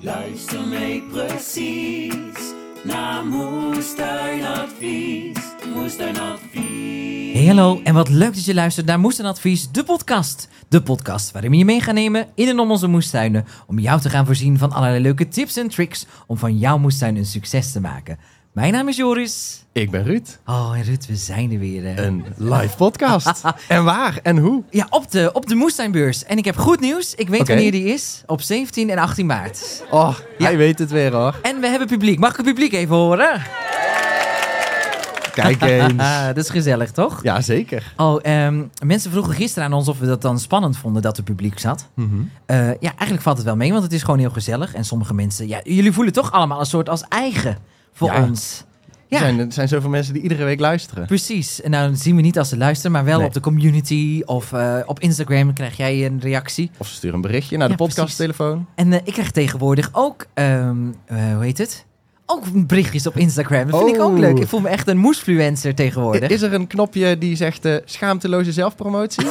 Luister mee precies naar Moestuinadvies. Moestuinadvies. Hey, hallo en wat leuk dat je luistert naar Moest en Advies, de podcast. De podcast waarin we je mee gaan nemen in en om onze moestuinen. Om jou te gaan voorzien van allerlei leuke tips en tricks om van jouw moestuin een succes te maken. Mijn naam is Joris. Ik ben Ruud. Oh, en Rut, we zijn er weer. hè. Een live podcast. en waar en hoe? Ja, op de, op de moestuinbeurs. En ik heb goed nieuws. Ik weet Oké. wanneer die is. Op 17 en 18 maart. Oh, Ja. hij weet het weer hoor. En we hebben publiek. Mag ik het publiek even horen? Kijk eens. Ah, dat is gezellig, toch? Ja, zeker. Oh, ehm, mensen vroegen gisteren aan ons of we dat dan spannend vonden dat er publiek zat. Mhm. Eh, ja, eigenlijk valt het wel mee, want het is gewoon heel gezellig. En sommige mensen, ja, jullie voelen toch allemaal een soort als eigen voor Ja. ons. Ja, Er, zijn, er zijn zoveel mensen die iedere week luisteren. precies. En nou zien we niet als ze luisteren, maar wel Nee. op de community of eh, op Instagram krijg jij een reactie. Of ze sturen een berichtje naar de Ja, precies. podcasttelefoon. En eh, ik krijg tegenwoordig ook, ehm, eh, hoe heet het? Ook berichtjes op Instagram. Dat vind ik ook Oh. leuk. Ik voel me echt een moesfluencer tegenwoordig. Is er een knopje die zegt eh, schaamteloze Oh, zelfpromotie?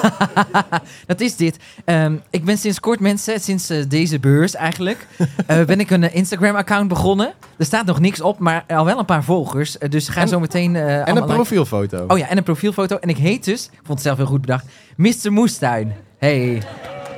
Dat is dit. Ehm, ik ben sinds kort, mensen, sinds eh, deze beurs eigenlijk, eh, ben ik een eh, Instagram-account begonnen. Er staat nog niks op, maar al wel een paar volgers. Eh, dus ga En- zo meteen... eh, en een allemaal like- profielfoto. Oh ja, en een profielfoto. En ik heet dus, ik vond het zelf heel goed bedacht, Mr. Moestuin. Hey.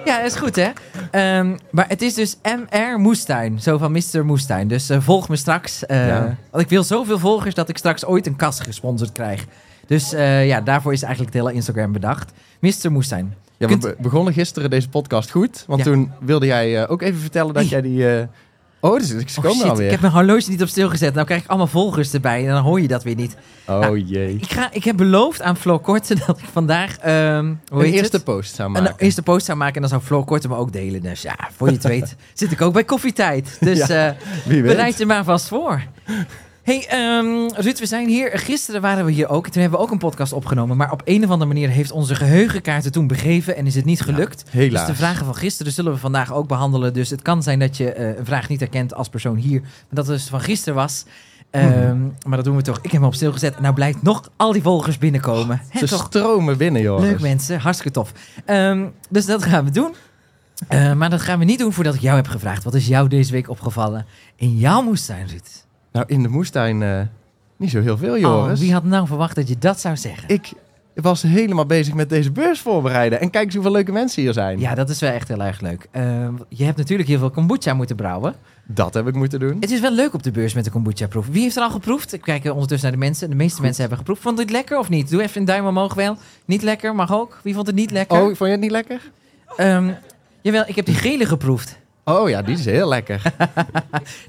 Ja, dat is goed hè. Ehm, maar het is dus MR Moestuin, zo van Mr. Moestuin. Dus eh, volg me straks. eh, Ja. Want ik wil zoveel volgers dat ik straks ooit een kas gesponsord krijg. Dus eh, ja, daarvoor is eigenlijk het hele Instagram bedacht. Mr. Moestuin. Ja, we kunt- be- begonnen gisteren deze podcast goed. Want Ja. toen wilde jij eh, ook even vertellen dat Hey. jij die... eh, Oh, dus, ze Oh, komen shit, alweer. ik heb mijn horloge niet op stil gezet. Nou krijg ik allemaal volgers erbij en dan hoor je dat weer niet. Oh jee. Ik, ga, ik heb beloofd aan Floor Korten dat ik vandaag ehm hoe Een heet eerste het? post zou een maken. eerste post zou maken en dan zou Floor Korten me ook delen. Dus ja, voor je het weet zit ik ook bij koffietijd. Dus eh Wie weet. bereid je maar vast voor. Hey ehm Ruud, we zijn hier. Gisteren waren we hier ook. Toen hebben we ook een podcast opgenomen. Maar op een of andere manier heeft onze geheugenkaart het toen begeven en is het niet gelukt. Helaas. Dus de vragen van gisteren zullen we vandaag ook behandelen. Dus het kan zijn dat je eh, een vraag niet herkent als persoon hier. Maar dat het dus van gisteren was. Ehm, Maar dat doen we toch. Ik heb hem op stil gezet. En nou blijkt nog al die volgers binnenkomen. Hè, Ze toch? stromen binnen, joh. Leuk mensen, hartstikke tof. Ehm, dus dat gaan we doen. Eh, maar dat gaan we niet doen voordat ik jou heb gevraagd. Wat is jou deze week opgevallen in jouw moestuin, Ruud? Nou, in de moestuin eh, niet zo heel veel, Oh, Joris. wie had nou verwacht dat je dat zou zeggen? Ik was helemaal bezig met deze beurs voorbereiden. En kijk eens hoeveel leuke mensen hier zijn. Ja, dat is wel echt heel erg leuk. Ehm, je hebt natuurlijk heel veel kombucha moeten brouwen. Dat heb ik moeten doen. Het is wel leuk op de beurs met de kombucha-proef. Wie heeft er al geproefd? Ik kijk eh, ondertussen naar de mensen. De meeste mensen hebben geproefd. Vond dit lekker of niet? Doe even een duim omhoog wel. Niet lekker, mag ook. Wie vond het niet lekker? Oh, vond je het niet lekker? Ehm, jawel, ik heb die gele geproefd. Oh ja, die is heel lekker.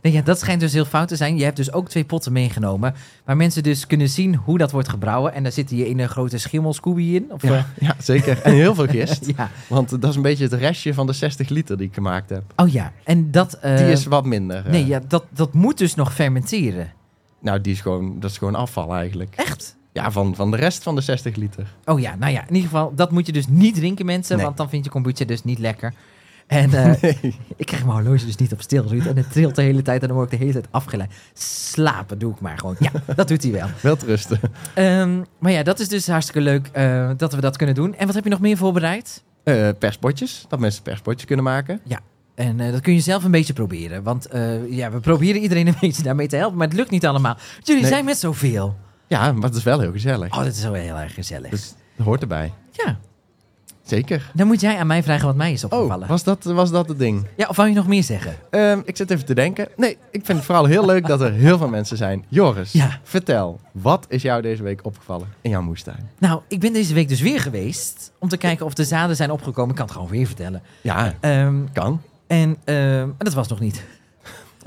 Nee, ja, dat schijnt dus heel fout te zijn. Je hebt dus ook twee potten meegenomen. Waar mensen dus kunnen zien hoe dat wordt gebrouwen. En daar zit die ene grote schimmelscooby in. Of, eh, Ja, ja, zeker. En heel veel gist. ja. Want dat is een beetje het restje van de 60 liter die ik gemaakt heb. Oh ja, en dat... eh, Die is wat minder. eh. Nee, ja, dat, dat moet dus nog fermenteren. Nou, die is gewoon, dat is gewoon afval eigenlijk. Echt? Ja, van, van de rest van de 60 liter. Oh ja, nou ja, in ieder geval, dat moet je dus niet drinken, mensen. Nee. Want dan vind je kombucha dus niet lekker. En eh, ik krijg mijn horloge dus niet op stil, Ruud. En het trilt de hele tijd en dan word ik de hele tijd afgeleid. Slapen doe ik maar gewoon. Ja, dat doet hij wel. Wel rusten. Ehm, maar ja, dat is dus hartstikke leuk eh, dat we dat kunnen doen. En wat heb je nog meer voorbereid? Eh perspotjes, dat mensen perspotjes kunnen maken. En eh, dat kun je zelf een beetje proberen. Want eh, ja, we proberen iedereen een beetje daarmee te helpen. Maar het lukt niet allemaal. Want Jullie Nee. zijn met zoveel. Ja, maar het is wel heel gezellig. Oh, dat is wel heel erg gezellig. Dus dat hoort erbij. Ja, Zeker. dan moet jij aan mij vragen wat mij is opgevallen. Oh, was dat, was dat het ding? Ja, of wou je nog meer zeggen? Ehm, ik zit even te denken. Nee, ik vind het vooral heel leuk dat er heel veel mensen zijn. Joris, Ja. vertel, wat is jou deze week opgevallen in jouw moestuin? Nou, ik ben deze week dus weer geweest. Om te kijken of de zaden zijn opgekomen. Ik kan het gewoon weer vertellen. Ja, Ehm, kan. en ehm, dat was nog niet.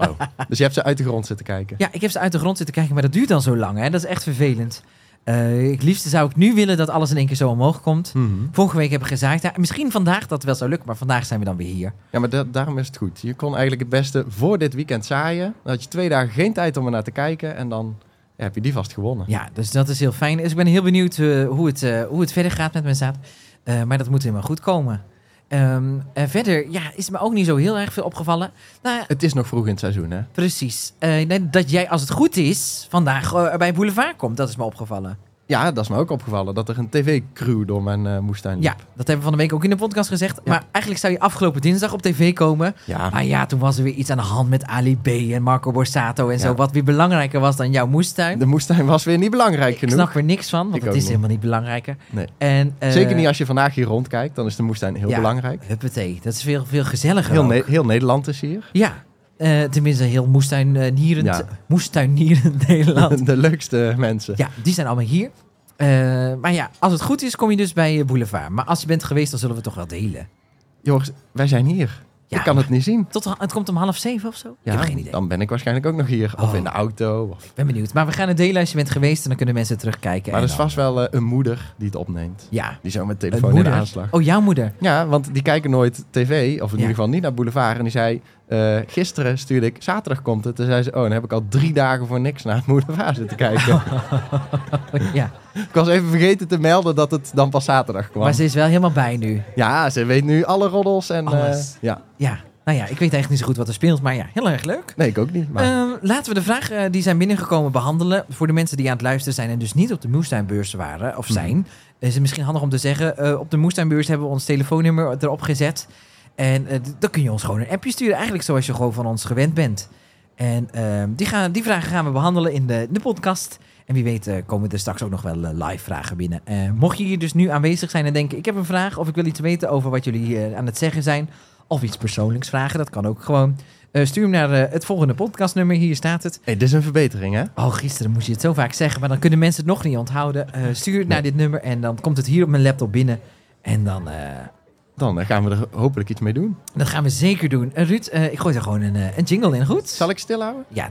Oh. dus je hebt ze uit de grond zitten kijken. Ja, ik heb ze uit de grond zitten kijken, maar dat duurt dan zo lang. Hè? Dat is echt vervelend. Eh het liefste zou ik nu willen dat alles in één keer zo omhoog komt. Mhm. Vorige week hebben we gezaaid. Ja, misschien vandaag dat wel zou lukken, maar vandaag zijn we dan weer hier. Ja, maar da- daarom is het goed. Je kon eigenlijk het beste voor dit weekend zaaien. Dan had je twee dagen geen tijd om er naar te kijken. En dan ja, heb je die vast gewonnen. Ja, dus dat is heel fijn. Dus ik ben heel benieuwd eh, hoe, het, eh, hoe het verder gaat met mijn zaad. Eh, maar dat moet helemaal goed komen. Ehm, en verder ja, is me ook niet zo heel erg veel opgevallen. Nou, ja, Het is nog vroeg in het seizoen, hè? precies. Eh, nee, dat jij, als het goed is, vandaag eh, bij Boulevard komt. Dat is me opgevallen. Ja, dat is me ook opgevallen. Dat er een tv-crew door mijn eh, moestuin liep. Ja, dat hebben we van de week ook in de podcast gezegd. Maar eigenlijk zou je afgelopen dinsdag op tv komen. Ja. Maar ja, toen was er weer iets aan de hand met Ali B en Marco Borsato en zo. Ja. Wat weer belangrijker was dan jouw moestuin. De moestuin was weer niet belangrijk Ik genoeg. snap er niks van, want Ik het ook is niet. helemaal niet belangrijker. Nee. En, eh, Zeker niet als je vandaag hier rondkijkt, dan is de moestuin heel ja, belangrijk. Huppatee, dat is veel, veel gezelliger. Heel, ook. Ne- heel Nederland is hier. Ja, eh, tenminste heel moestuin, eh, nierend, Ja. moestuin nierend Nederland. De leukste mensen. ja, die zijn allemaal hier. Eh, maar ja, als het goed is kom je dus bij eh, Boulevard. Maar als je bent geweest, dan zullen we het toch wel delen. Jongens, wij zijn hier. Ja, ik kan het niet zien. Tot, het komt om half zeven of zo? Ja, ik heb geen idee. Dan ben ik waarschijnlijk ook nog hier. Of Oh. in de auto. Of... Ik ben benieuwd. Maar we gaan het delen als je bent geweest en dan kunnen mensen terugkijken. Maar en er is dan- vast wel eh, een moeder die het opneemt. Ja. Die zo met Een telefoon in de moeder. aanslag. Oh, jouw moeder. Ja, want die kijken nooit tv, of Ja. in ieder geval niet naar Boulevard. En die zei, eh, gisteren stuurde ik, zaterdag komt het. Toen zei ze, oh, dan heb ik al drie dagen voor niks naar Boulevard zitten kijken. Ja. ik was even vergeten te melden dat het dan pas zaterdag kwam. Maar ze is wel helemaal bij nu. Ja, ze weet nu alle roddels en... eh, Alles. ja, Ja. Nou ja, ik weet eigenlijk niet zo goed wat er speelt, maar ja, heel erg leuk. nee, ik ook niet. Maar Ehm, laten we de vragen eh, die zijn binnengekomen behandelen. Voor de mensen die aan het luisteren zijn en dus niet op de moestuinbeurs waren of zijn, is het misschien handig om te zeggen: eh, op de moestuinbeurs hebben we ons telefoonnummer erop gezet. En eh, d- dan kun je ons gewoon een appje sturen, eigenlijk zoals je gewoon van ons gewend bent. En ehm, die, gaan, die vragen gaan we behandelen in de, de podcast. En wie weet eh, komen er straks ook nog wel eh, live vragen binnen. Eh, mocht je hier dus nu aanwezig zijn en denken: ik heb een vraag of ik wil iets weten over wat jullie eh, aan het zeggen zijn, of iets persoonlijks vragen, dat kan ook gewoon. Eh, stuur hem naar eh, het volgende podcastnummer. Hier staat het. hey, dit is een verbetering, hè? Oh, gisteren moest je het zo vaak zeggen, maar dan kunnen mensen het nog niet onthouden. Eh, stuur het naar dit nummer en dan komt het hier op mijn laptop binnen. En dan eh, Dan eh, gaan we er hopelijk iets mee doen. dat gaan we zeker doen. Eh, Ruud, eh, ik gooi er gewoon een, eh, een jingle in, goed? Zal ik stilhouden? Ja.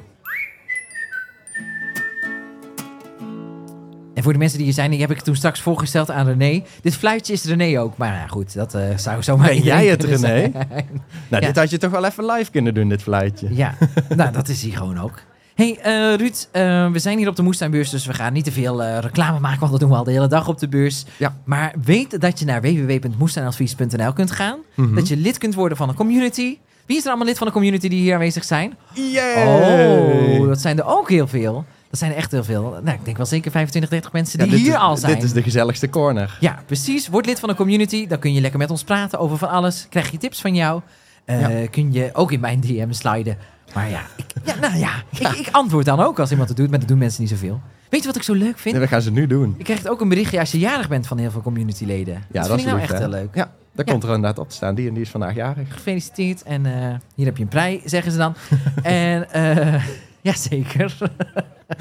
En voor de mensen die hier zijn, die heb ik toen straks voorgesteld aan René. Dit fluitje is René ook, maar nou goed, dat eh, zou zomaar Ben iedereen jij het, kunnen René? zijn. Nou, Ja. dit had je toch wel even live kunnen doen, dit fluitje. Ja, nou dat is hier gewoon ook. hey, eh, Ruud, eh, we zijn hier op de moestuinbeurs, dus we gaan niet te veel eh, reclame maken, want dat doen we al de hele dag op de beurs. Ja. Maar weet dat je naar www.moestuinadvies.nl kunt gaan, Mhm. dat je lid kunt worden van een community. Wie is er allemaal lid van de community die hier aanwezig zijn? Yay! Oh, dat zijn er ook heel veel. Dat zijn er echt heel veel. Nou, ik denk wel zeker 25, 30 mensen Ja, die dit hier is- al zijn. Dit is de gezelligste corner. Ja, precies. Word lid van de community. Dan kun je lekker met ons praten over van alles. Krijg je tips van jou. Eh, Kun je ook in mijn DM sliden. Maar ja, ik, ja, nou ja, Ik, ik antwoord dan ook als iemand het doet. Maar dat doen mensen niet zoveel. Weet je wat ik zo leuk vind? En we gaan ze nu doen. Je krijgt ook een berichtje als je jarig bent van heel veel communityleden. Ja, dat, vind ik nou echt hè? heel leuk. Ja, daar Ja. komt er inderdaad op te staan. Die en die is vandaag jarig. Gefeliciteerd en eh, hier heb je een prij, zeggen ze dan. en eh ja, zeker.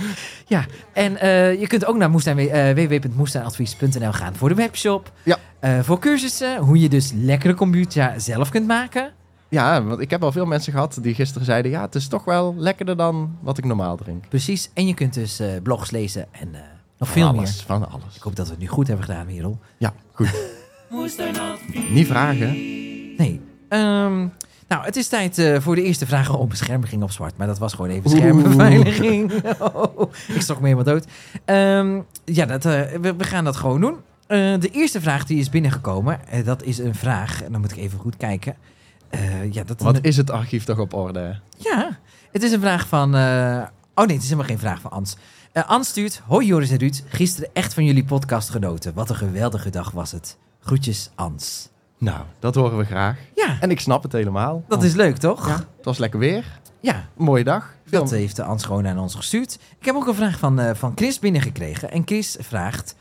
ja, en eh, je kunt ook naar moestuin, eh, www.moestuinadvies.nl gaan voor de webshop. Ja. Eh, voor cursussen, hoe je dus lekkere kombucha zelf kunt maken. Ja, want ik heb al veel mensen gehad die gisteren zeiden... ja, het is toch wel lekkerder dan wat ik normaal drink. Precies, en je kunt dus eh, blogs lezen en eh, nog Van veel alles, meer. van alles. Ik hoop dat we het nu goed hebben gedaan, Merel. Ja, goed. Moestuinadvies. Niet vragen. Nee. Ehm, nou, het is tijd eh, voor de eerste vragen op bescherming op zwart. Maar dat was gewoon even Oeh. schermbeveiliging. Oh, ik stok me helemaal dood. Ehm, ja, dat, eh, we, we gaan dat gewoon doen. Eh, de eerste vraag die is binnengekomen, eh, dat is een vraag. En dan moet ik even goed kijken. Eh, ja, dat, Wat is het archief toch op orde? ja, het is een vraag van... eh, oh nee, het is helemaal geen vraag van Ans. Eh Ans stuurt... Hoi Joris en Ruud, gisteren echt van jullie podcast genoten. Wat een geweldige dag was het. Groetjes Ans. Nou, dat horen we graag. Ja, En ik snap het helemaal. dat is leuk toch? Oh. Ja, het was lekker weer. ja. Mooie dag. Veel- Dat heeft de Ans gewoon aan ons gestuurd. Ik heb ook een vraag van, eh, van Chris binnengekregen. En Chris vraagt...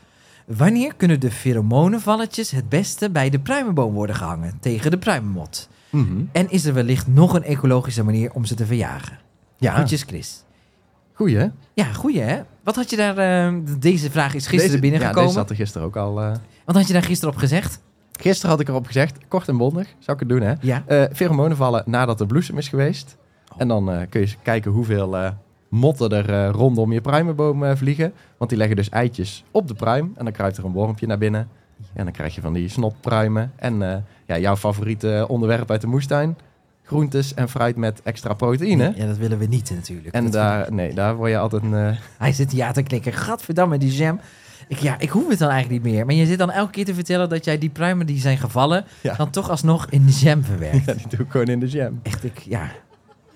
Wanneer kunnen de feromonenvalletjes het beste bij de pruimenboom worden gehangen tegen de pruimenmot? Mhm. En is er wellicht nog een ecologische manier om ze te verjagen? Ja, Groetjes Chris. goeie hè? Ja, goeie hè? Wat had je daar... eh, deze vraag is gisteren Deze- Ja, binnengekomen. deze zat er gisteren ook al. eh. Wat had je daar gisteren op gezegd? Gisteren had ik erop gezegd, kort en bondig, zou ik het doen hè. Ja. Eh, pheromonen vallen nadat de bloesem is geweest. Oh. En dan eh, kun je eens kijken hoeveel eh, motten er eh, rondom je pruimenboom eh, vliegen. Want die leggen dus eitjes op de pruim. En dan kruipt er een wormpje naar binnen. En dan krijg je van die snotpruimen. En eh, ja, jouw favoriete onderwerp uit de moestuin. Groentes en fruit met extra proteïne. Ja, dat willen we niet natuurlijk. En Dat daar, nee, daar word je altijd een... eh, Hij zit ja te knikken. Gadverdamme, die jam. Ik, ja, ik hoef het dan eigenlijk niet meer. Maar je zit dan elke keer te vertellen dat jij die pruimen die zijn gevallen... Ja. dan toch alsnog in de jam verwerkt. ja, die doe ik gewoon in de jam. Echt, ik... Ja.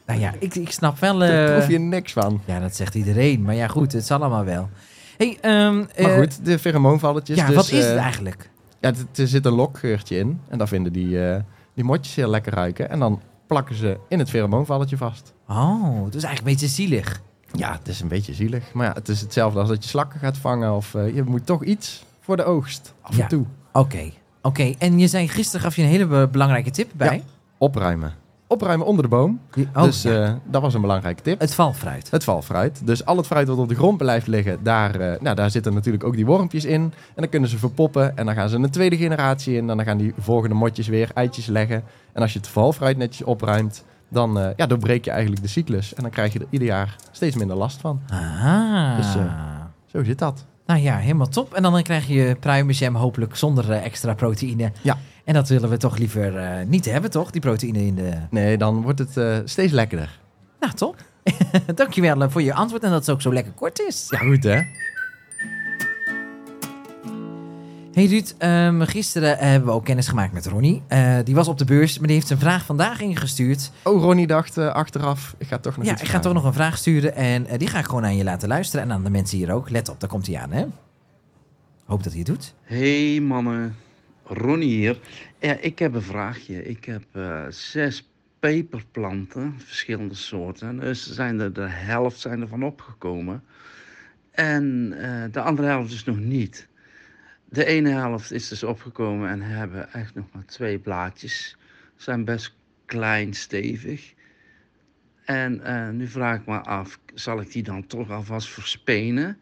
Nou ja, ik, ik snap wel... Daar eh, proef je niks van. Ja, dat zegt iedereen. Maar ja, goed, het zal allemaal wel. Hey, ehm, Maar eh, goed, de feromoonvalletjes. ja, dus, wat is het eh, eigenlijk? Ja, het- er zit een lokgeurtje in. En daar vinden die, eh, die motjes heel lekker ruiken. En dan plakken ze in het feromoonvalletje vast. Oh, het is eigenlijk een beetje zielig. Ja, het is een beetje zielig. Maar ja, het is hetzelfde als dat je slakken gaat vangen. Of eh, je moet toch iets voor de oogst. Af Ja. en toe. Oké, oké. En je zei gisteren gaf je een hele be- belangrijke tip bij. Opruimen. Opruimen onder de boom. Die- Oh, dus ja. eh, dat was een belangrijke tip. het valfruit. Het valfruit. Dus al het fruit wat op de grond blijft liggen, daar, eh, nou, daar zitten natuurlijk ook die wormpjes in. En dan kunnen ze verpoppen en dan gaan ze een tweede generatie in. En dan gaan die volgende motjes weer eitjes leggen. En als je het valfruit netjes opruimt, dan eh, ja, doorbreek je eigenlijk de cyclus. En dan krijg je er ieder jaar steeds minder last van. Ah. Dus, eh, Zo zit dat. Nou ja, helemaal top. En dan krijg je pruimenjam hopelijk zonder eh, extra proteïne. Ja. En dat willen we toch liever eh, niet hebben, toch? Die proteïne in de... Nee, dan wordt het eh, steeds lekkerder. Nou, top. Dankjewel eh, voor je antwoord en dat het ook zo lekker kort is. Ja, goed hè? Hey Ruud, ehm, gisteren eh, hebben we ook kennis gemaakt met Ronnie. Eh, die was op de beurs, maar die heeft zijn vraag vandaag ingestuurd. Oh, Ronnie dacht eh, achteraf, ik ga toch nog ja, iets ik ga toch nog een vraag sturen en eh, die ga ik gewoon aan je laten luisteren. En aan de mensen hier ook. Let op, daar komt hij aan, hè? Hoop dat hij het doet. Hey mannen, Ronnie hier. Ja, ik heb een vraagje. Ik heb eh, zes peperplanten, verschillende soorten. Dus zijn er, de helft zijn ervan opgekomen. En eh, de andere helft dus nog niet. De ene helft is dus opgekomen en hebben echt nog maar twee blaadjes. Zijn best klein, stevig. En eh, nu vraag ik me af, zal ik die dan toch alvast verspenen?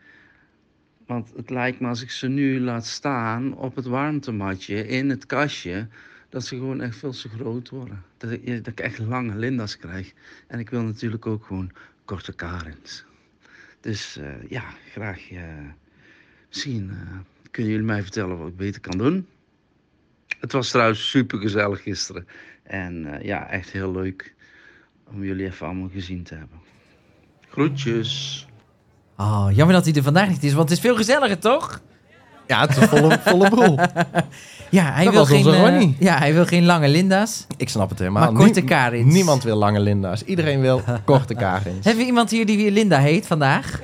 Want het lijkt me als ik ze nu laat staan op het warmtematje in het kastje, dat ze gewoon echt veel te groot worden. Dat ik, dat ik echt lange Linda's krijg. En ik wil natuurlijk ook gewoon korte Karens. Dus eh, ja, graag. eh, misschien eh, kunnen jullie mij vertellen wat ik beter kan doen. Het was trouwens super gezellig gisteren. En eh, ja, echt heel leuk om jullie even allemaal gezien te hebben. Groetjes. Oh, jammer dat hij er vandaag niet is, want het is veel gezelliger, toch? Ja, het is een volle, volle broel. Ja, hij, Dat wil was geen, onze eh, Ronnie. ja, hij wil geen lange Linda's. Ik snap het helemaal. Maar korte Nie- Karins. Niemand wil lange Linda's. Iedereen wil korte Karins. Hebben we iemand hier die weer Linda heet vandaag?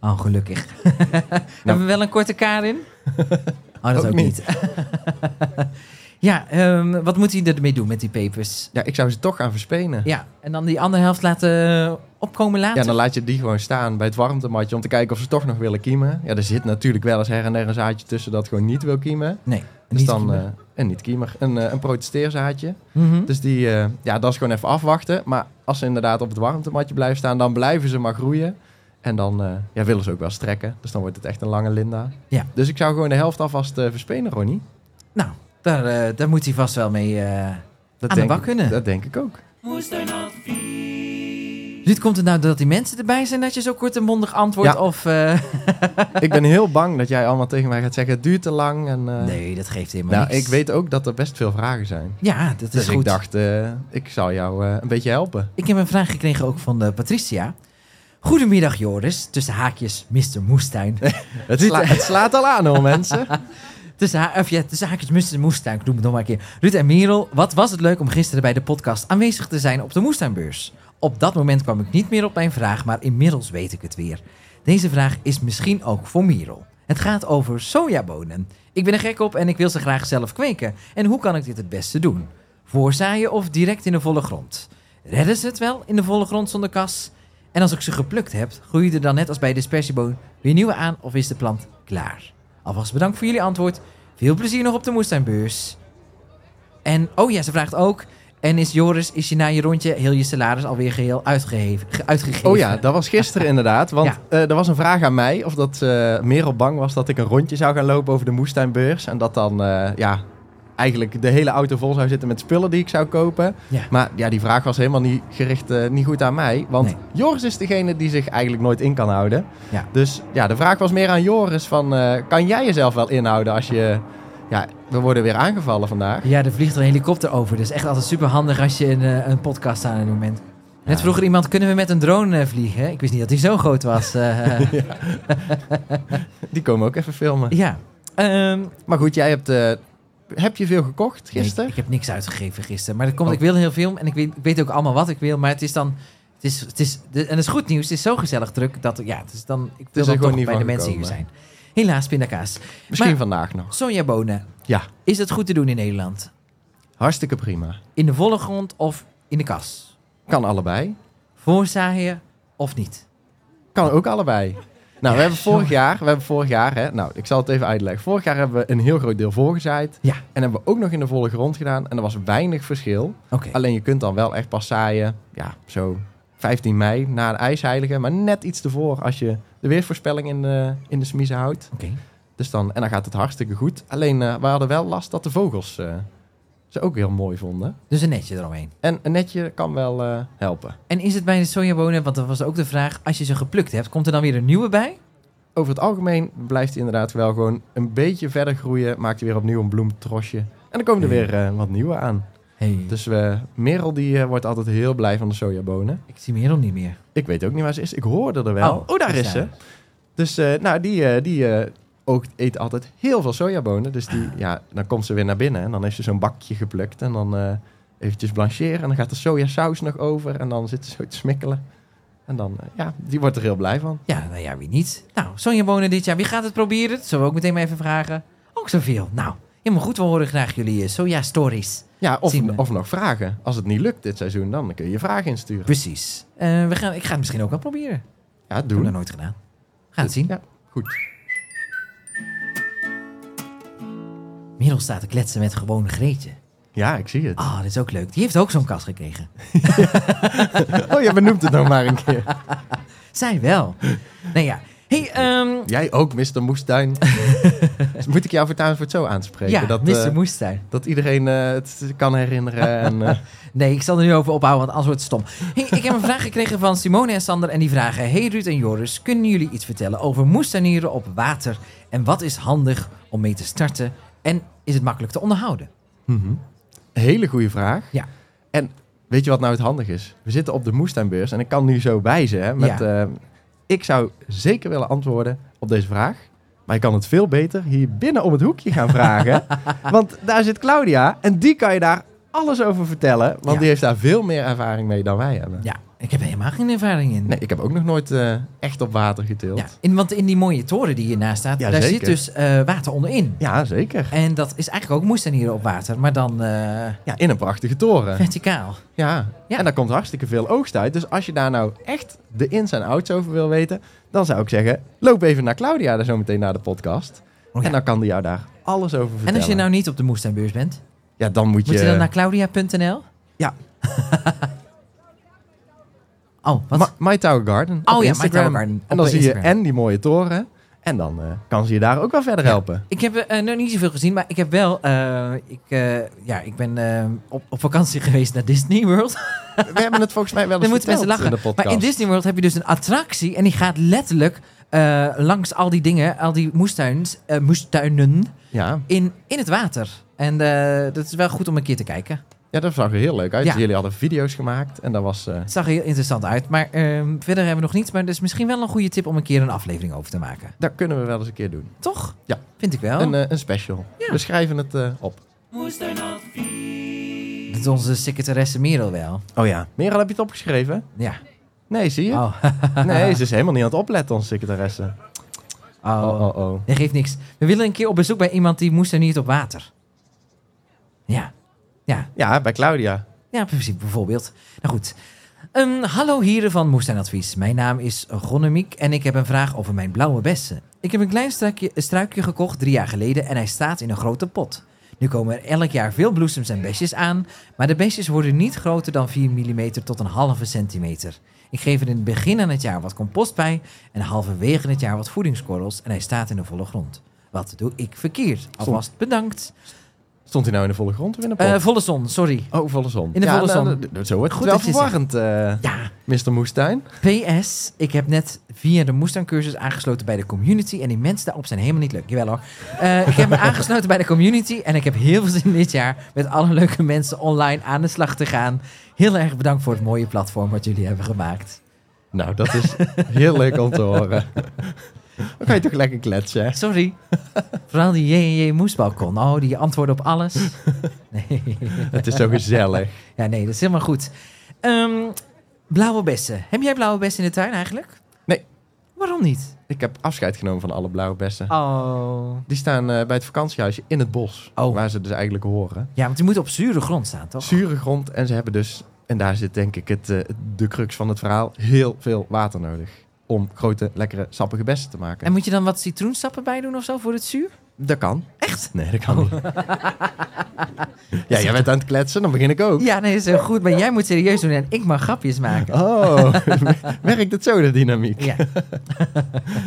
Oh, gelukkig. Hebben we wel een korte Karin? Oh, dat ook, Nou. Ook niet. ja, ehm, wat moet hij ermee doen met die papers? Ja, ik zou ze toch gaan verspenen. Ja, en dan die andere helft laten opkomen later. Ja, dan laat je die gewoon staan bij het warmtematje om te kijken of ze toch nog willen kiemen. Ja, er zit natuurlijk wel eens her en der een zaadje tussen dat gewoon niet wil kiemen. Nee, Dus niet dan, kiemen. eh, een niet-kiemer, een, eh, een protesteerzaadje. Mhm. Dus die, eh, ja, dat is gewoon even afwachten. Maar als ze inderdaad op het warmtematje blijven staan, dan blijven ze maar groeien. En dan eh, ja, willen ze ook wel strekken. Dus dan wordt het echt een lange Linda. Ja. Dus ik zou gewoon de helft alvast eh, verspenen, Ronnie. Nou, daar, eh, daar moet hij vast wel mee... eh, Dat Aan de denk bak ik, kunnen. Dat denk ik ook. Ruud, komt het nou dat die mensen erbij zijn dat je zo kort en mondig antwoordt? Ja. Of, eh, ik ben heel bang dat jij allemaal tegen mij gaat zeggen, het duurt te lang. En, eh, Nee, dat geeft helemaal nou, niks. ik weet ook dat er best veel vragen zijn. Ja, dat is Dus goed. ik dacht, eh, ik zou jou eh, een beetje helpen. Ik heb een vraag gekregen ook van eh, Patricia. Goedemiddag Joris, tussen haakjes Mr. Moestuin. Het, sla- het slaat al aan hoor, mensen. tussen, ha- of ja, tussen haakjes Mr. Moestuin, ik noem het nog maar een keer. Ruud en Merel, wat was het leuk om gisteren bij de podcast aanwezig te zijn op de Moestuinbeurs. Op dat moment kwam ik niet meer op mijn vraag, maar inmiddels weet ik het weer. Deze vraag is misschien ook voor Merel. Het gaat over sojabonen. Ik ben er gek op en ik wil ze graag zelf kweken. En hoe kan ik dit het beste doen? Voorzaaien of direct in de volle grond? Redden ze het wel in de volle grond zonder kas? En als ik ze geplukt heb, groeien er dan net als bij dispersieboon weer nieuwe aan of is de plant klaar? Alvast bedankt voor jullie antwoord. Veel plezier nog op de moestuinbeurs. En, oh ja, ze vraagt ook. En is Joris, is je na je rondje heel je salaris alweer geheel uitgeheven, ge- uitgegeven? Oh ja, dat was gisteren inderdaad. Want Ja. eh, er was een vraag aan mij of dat eh Merel bang was dat ik een rondje zou gaan lopen over de moestuinbeurs. En dat dan eh, ja, eigenlijk de hele auto vol zou zitten met spullen die ik zou kopen. Ja. Maar ja, die vraag was helemaal niet gericht eh, niet goed aan mij. Want Nee. Joris is degene die zich eigenlijk nooit in kan houden. Ja. Dus ja, de vraag was meer aan Joris van eh, kan jij jezelf wel inhouden als je... Ja, we worden weer aangevallen vandaag. Ja, er vliegt een helikopter over. Dat is echt altijd super handig als je een, eh, een podcast aan het moment. Net Ja. vroeger iemand, kunnen we met een drone eh, vliegen? Ik wist niet dat hij zo groot was. eh. Die komen ook even filmen. ja. Ehm, Maar goed, jij hebt... eh, heb je veel gekocht Nee, gisteren? ik heb niks uitgegeven gisteren. Maar dat komt, Oh. ik wilde heel veel en ik weet, ik weet ook allemaal wat ik wil. Maar het is dan Het is, het is, de- en het is goed nieuws. Het is zo gezellig druk dat ja, het is dan, ik wil er dan gewoon toch niet bij de van mensen hier gekomen. zijn. Helaas, pindakaas. Misschien Maar- vandaag nog. Sonja Bonen, Ja, is het goed te doen in Nederland? hartstikke prima. In de volle grond of in de kas? Kan allebei. Voorzaaien of niet? Kan ook allebei. Nou, we hebben vorig jaar, we hebben vorig jaar, hè, nou, ik zal het even uitleggen. Vorig jaar hebben we een heel groot deel voorgezaaid. Ja. En hebben we ook nog in de volle grond gedaan. En er was weinig verschil. Oké. Alleen je kunt dan wel echt pas zaaien, ja, zo 15 mei na de ijsheilige. Maar net iets ervoor als je de weersvoorspelling in de, in de smiezen houdt. Oké. Dus dan, en dan gaat het hartstikke goed. Alleen eh, we hadden wel last dat de vogels eh, ze ook heel mooi vonden. Dus een netje eromheen. En een netje kan wel eh, helpen. En is het bij de sojabonen, want dat was ook de vraag, als je ze geplukt hebt, komt er dan weer een nieuwe bij? Over het algemeen blijft hij inderdaad wel gewoon een beetje verder groeien. Maakt hij weer opnieuw een bloemtrosje. En dan komen er weer eh, wat nieuwe aan. Hey, Dus we Merel die eh, wordt altijd heel blij van de sojabonen. ik zie Merel niet meer. Ik weet ook niet waar ze is. Ik hoorde er wel. Oh, daar is ze. Dus eh, nou, die, eh, die eh, ook eet altijd heel veel sojabonen. Dus die, ja, dan komt ze weer naar binnen en dan heeft ze zo'n bakje geplukt. En dan eh, eventjes blancheren en dan gaat de sojasaus nog over. En dan zit ze zo te smikkelen. En dan, eh, ja, die wordt er heel blij van. Ja, nou ja, wie niet? Nou, Sonja Bonen dit jaar, wie gaat het proberen? Dat zullen we ook meteen maar even vragen. Ook zoveel. Nou, helemaal goed, we horen graag jullie eh, soja-stories. Ja, of, Zien we. of nog vragen. Als het niet lukt dit seizoen, dan kun je je vraag insturen. Precies. Eh, we gaan, ik ga het misschien ook wel proberen. Ik Ja, heb doen. dat nooit gedaan. Gaan het zien. Ja, goed. Merel staat te kletsen met gewoon Greetje. Ja, ik zie het. Ah, dit is ook leuk. Die heeft ook zo'n kast gekregen. Oh, je benoemt het nog maar een keer. Zij wel. nou ja. Hey, ehm, Jij ook, Mr. Moestuin. Dus moet ik jou voortaan voor het zo aanspreken? ja, dat, Mr. eh, Moestuin. dat iedereen eh, het kan herinneren. En, eh, Nee, ik zal er nu over ophouden, want anders wordt het stom. Hey, ik heb een vraag gekregen van Simone en Sander en die vragen... Hey Ruud en Joris, kunnen jullie iets vertellen over moestuinieren op water? En wat is handig om mee te starten? En is het makkelijk te onderhouden? Hele goede vraag. Ja. En weet je wat nou het handig is? We zitten op de moestuinbeurs en ik kan nu zo wijzen. Hè, met, eh, ik zou zeker willen antwoorden op deze vraag. Maar je kan het veel beter hier binnen om het hoekje gaan vragen. want daar zit Claudia en die kan je daar alles over vertellen. Want Ja. die heeft daar veel meer ervaring mee dan wij hebben. Ja, ik heb er helemaal geen ervaring in. Nee, ik heb ook nog nooit eh, echt op water getild. Ja, Ja, in, want in die mooie toren die hiernaast staat, Ja, daar zeker. zit dus eh, water onderin. zeker. En dat is eigenlijk ook moestuinieren op water, maar dan eh, Ja, in een prachtige toren. verticaal. Ja. Ja. en daar komt hartstikke veel oogst uit. Dus als je daar nou echt de ins en outs over wil weten, dan zou ik zeggen, loop even naar Claudia daar zo meteen naar de podcast. Oh ja. En dan kan die jou daar alles over vertellen. En als je nou niet op de moestuinbeurs bent, Ja, dan moet, moet je dan naar claudia.nl? Ja. oh, wat? Ma- My Tower Garden Oh op ja, My Instagram. Tower Garden op En dan zie je Instagram. en die mooie toren. En dan eh, kan ze je daar ook wel verder helpen. Ik heb eh, nog niet zoveel gezien, maar ik heb wel. eh, ik, eh, ja, ik ben eh, op, op vakantie geweest naar Disney World. We hebben het volgens mij wel eens Dan moeten verteld mensen lachen. in de podcast. maar in Disney World heb je dus een attractie en die gaat letterlijk eh, langs al die dingen, al die moestuins, eh, moestuinen ja. in, in het water. En eh, dat is wel goed om een keer te kijken. ja, dat zag er heel leuk uit. Ja. Jullie hadden video's gemaakt en dat was... eh, Het zag er heel interessant uit, maar ehm, verder hebben we nog niets. Maar dat is misschien wel een goede tip om een keer een aflevering over te maken. dat kunnen we wel eens een keer doen. Toch? Ja. Vind ik wel. Een, eh, een special. Oh. Ja. We schrijven het eh, op. Moestuinadvies. Dat is onze secretaresse Merel wel. Oh ja. Merel, heb je het opgeschreven? Ja. Nee, zie je? Oh. Nee, ze is helemaal niet aan het opletten, onze secretaresse. Oh. Oh, oh, oh. Nee, geeft niks. We willen een keer op bezoek bij iemand die moest er niet op water. Ja. Ja, Ja, bij Claudia. ja precies, bijvoorbeeld. Nou goed. Ehm, hallo heren van Moest en Advies. Mijn naam is Gonnemiek en ik heb een vraag over mijn blauwe bessen. Ik heb een klein struikje, struikje gekocht drie jaar geleden en hij staat in een grote pot. Nu komen er elk jaar veel bloesems en besjes aan, maar de besjes worden niet groter dan 4 mm tot een halve centimeter. Ik geef er in het begin aan het jaar wat compost bij en halverwege het jaar wat voedingskorrels en hij staat in de volle grond. Wat doe ik verkeerd? Alvast bedankt. Stond hij nou in de volle grond of in de pot? Eh, volle zon, sorry. oh, volle zon. in de Ja, volle nou, zon. d- d- zo wordt Goed het dat wel je zegt. verwarrend, eh Ja, Mr. Moestuin. PS, ik heb net via de Moestuincursus aangesloten bij de community. En die mensen daarop zijn helemaal niet leuk. Jawel hoor. Eh, ik heb me aangesloten bij de community. En ik heb heel veel zin dit jaar met alle leuke mensen online aan de slag te gaan. Heel erg bedankt voor het mooie platform wat jullie hebben gemaakt. Nou, dat is heel leuk om te horen. Dan kan je toch lekker kletsen, hè? Sorry. Vooral die JJ Moesbalkon. Oh, die antwoorden op alles. Nee. Het is zo gezellig. Ja, nee, dat is helemaal goed. Ehm, Blauwe bessen. Heb jij blauwe bessen in de tuin eigenlijk? Nee. Waarom niet? Ik heb afscheid genomen van alle blauwe bessen. Oh. Die staan eh, bij het vakantiehuisje in het bos, Oh. waar ze dus eigenlijk horen. Ja, want die moeten op zure grond staan, toch? Zure grond en ze hebben dus, en daar zit denk ik het, eh, de crux van het verhaal, heel veel water nodig. Om grote, lekkere, sappige bessen te maken. En moet je dan wat citroensappen bij doen of zo voor het zuur? Dat kan. Echt? Oh. Nee, dat kan niet. ja, jij bent aan het kletsen, dan begin ik ook. Ja, nee, is heel goed. Maar jij moet serieus doen en ik mag grapjes maken. Oh, werkt het zo, de dynamiek? Ja.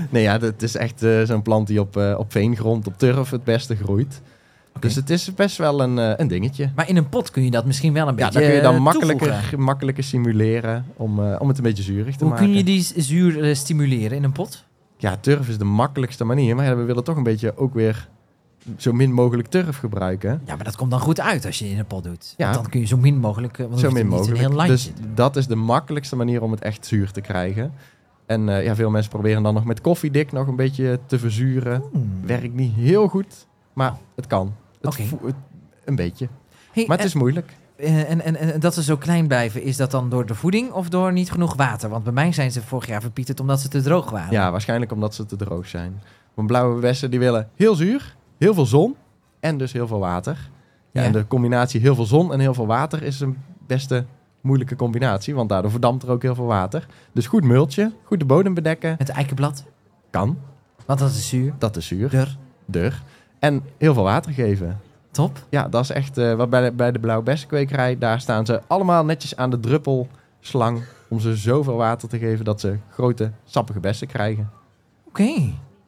Nee, ja, het is echt eh, zo'n plant die op, eh, op veengrond, op turf het beste groeit. Dus het is best wel een, eh, een dingetje. Maar in een pot kun je dat misschien wel een Ja, beetje dan kun je eh, dan toevoegen. makkelijker, makkelijker simuleren om, eh, om het een beetje zuurig te Hoe maken. kun je die z- zuur eh, stimuleren in een pot? Ja, turf is de makkelijkste manier, maar ja, we willen toch een beetje ook weer zo min mogelijk turf gebruiken. Ja, maar dat komt dan goed uit als je in een pot doet. Ja. Want Dan kun je zo min mogelijk... eh, Want Zo min Een heel mogelijk. landje. Dus dat is de makkelijkste manier om het echt zuur te krijgen. En eh, ja, veel mensen proberen dan nog met koffiedik nog een beetje te verzuren. Hmm. Werkt niet heel goed, maar het kan. Het Oké. voe- het- een beetje. Hey, Maar het is moeilijk. Eh, en, en, en dat ze zo klein blijven, is dat dan door de voeding of door niet genoeg water? Want bij mij zijn ze vorig jaar verpieterd omdat ze te droog waren. Ja, waarschijnlijk omdat ze te droog zijn. Want blauwe bessen die willen heel zuur, heel veel zon en dus heel veel water. Ja, Ja. En de combinatie heel veel zon en heel veel water is een beste moeilijke combinatie, want daardoor verdampt er ook heel veel water. Dus goed multje, goed de bodem bedekken, Het eikenblad, kan, want dat is zuur. dat is zuur, Dur, dur. En heel veel water geven. top. Ja, dat is echt eh, wat bij de, bij de blauwe bessenkwekerij, daar staan ze allemaal netjes aan de druppelslang om ze zoveel water te geven dat ze grote, sappige bessen krijgen. Oké.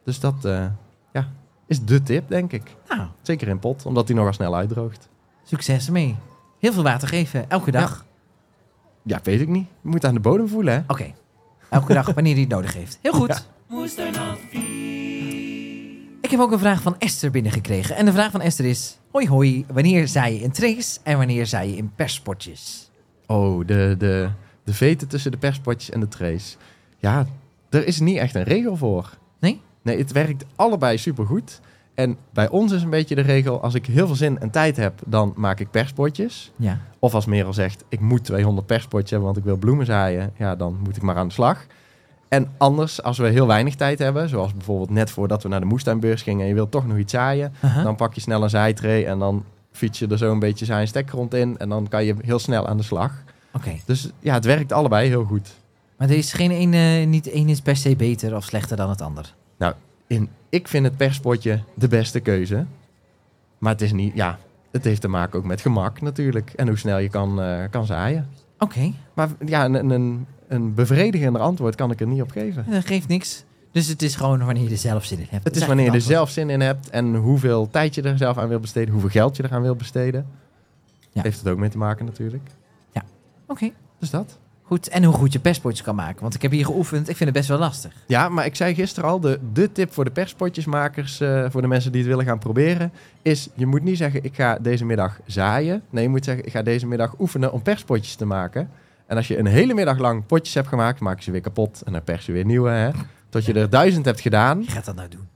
Dus dat eh, ja, is de tip, denk ik. Nou, Zeker in pot, omdat die nogal snel uitdroogt. succes ermee. Heel veel water geven, elke dag. Ja, weet ik niet. Je moet aan de bodem voelen, hè? Oké. Elke dag wanneer hij het nodig heeft. Heel goed. Ik heb ook een vraag van Esther binnengekregen. En de vraag van Esther is: Hoi, hoi. Wanneer zaai je in trays en wanneer zaai je in perspotjes? Oh, de, de, de veten tussen de perspotjes en de trays. Ja, er is niet echt een regel voor. Nee? Nee, het werkt allebei supergoed. En bij ons is een beetje de regel, als ik heel veel zin en tijd heb, dan maak ik perspotjes. Ja. Of als Merel zegt, ik moet 200 perspotjes hebben, want ik wil bloemen zaaien. Ja, dan moet ik maar aan de slag. En anders, als we heel weinig tijd hebben, zoals bijvoorbeeld net voordat we naar de moestuinbeurs gingen en je wilt toch nog iets zaaien, Aha. dan pak je snel een zaaitray en dan fiets je er zo een beetje zijn stek rond in en dan kan je heel snel aan de slag. Oké. Dus ja, het werkt allebei heel goed. Maar er is geen een, eh, niet één is per se beter of slechter dan het ander. En ik vind het perspotje de beste keuze. Maar het is niet, ja, het heeft te maken ook met gemak natuurlijk en hoe snel je kan, eh, kan zaaien. Oké, Maar ja, een, een, een bevredigender antwoord kan ik er niet op geven. dat Eh, geeft niks. Dus het is gewoon wanneer je er zelf zin in hebt. Het Dat is wanneer je er eigenlijk zelf zin in hebt en hoeveel tijd je er zelf aan wil besteden, hoeveel geld je eraan wil besteden. Ja. Heeft het ook mee te maken natuurlijk. het antwoord. Oké, Dus dat. goed. En hoe goed je perspotjes kan maken. Want ik heb hier geoefend. Ik vind het best wel lastig. Ja, maar ik zei gisteren al, de, de tip voor de perspotjesmakers, eh, voor de mensen die het willen gaan proberen, is je moet niet zeggen ik ga deze middag zaaien. Nee, je moet zeggen ik ga deze middag oefenen om perspotjes te maken. En als je een hele middag lang potjes hebt gemaakt, maak je ze weer kapot en dan pers je weer nieuwe. Hè? Tot je er duizend hebt gedaan. Wie gaat dat nou doen?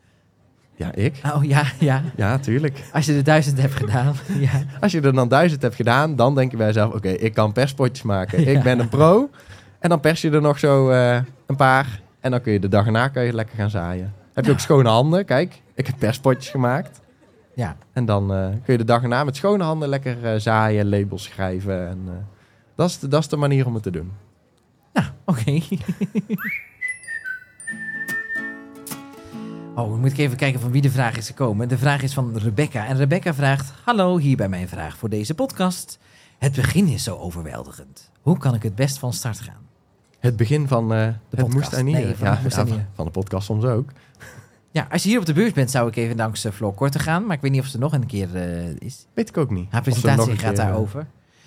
Ja, ik. Oh ja, ja. Ja, tuurlijk. Als je er duizend hebt gedaan. ja. Als je er dan duizend hebt gedaan, dan denk je bij jezelf: oké, ik kan perspotjes maken. Ik ben een pro. En dan pers je er nog zo eh, een paar. En dan kun je de dag erna kun je lekker gaan zaaien. Heb je ook schone handen? Kijk, ik heb perspotjes gemaakt. ja. En dan eh, kun je de dag erna met schone handen lekker eh, zaaien, labels schrijven. En, eh, dat, is de, dat is de manier om het te doen. Nou, oké. Oh, dan moet ik even kijken van wie de vraag is gekomen. De vraag is van Rebecca. En Rebecca vraagt: Hallo, hier bij mijn vraag voor deze podcast. Het begin is zo overweldigend. Hoe kan ik het best van start gaan? Het begin van eh de podcast. het moestanieren. Nee, van het moestanieren. van de podcast soms ook. Ja, als je hier op de beurs bent, zou ik even langs eh, Floor Korte gaan. Maar ik weet niet of ze nog een keer eh, is. Weet ik ook niet. Haar Of ze hem nog Nou, presentatie een gaat keer, eh, daarover.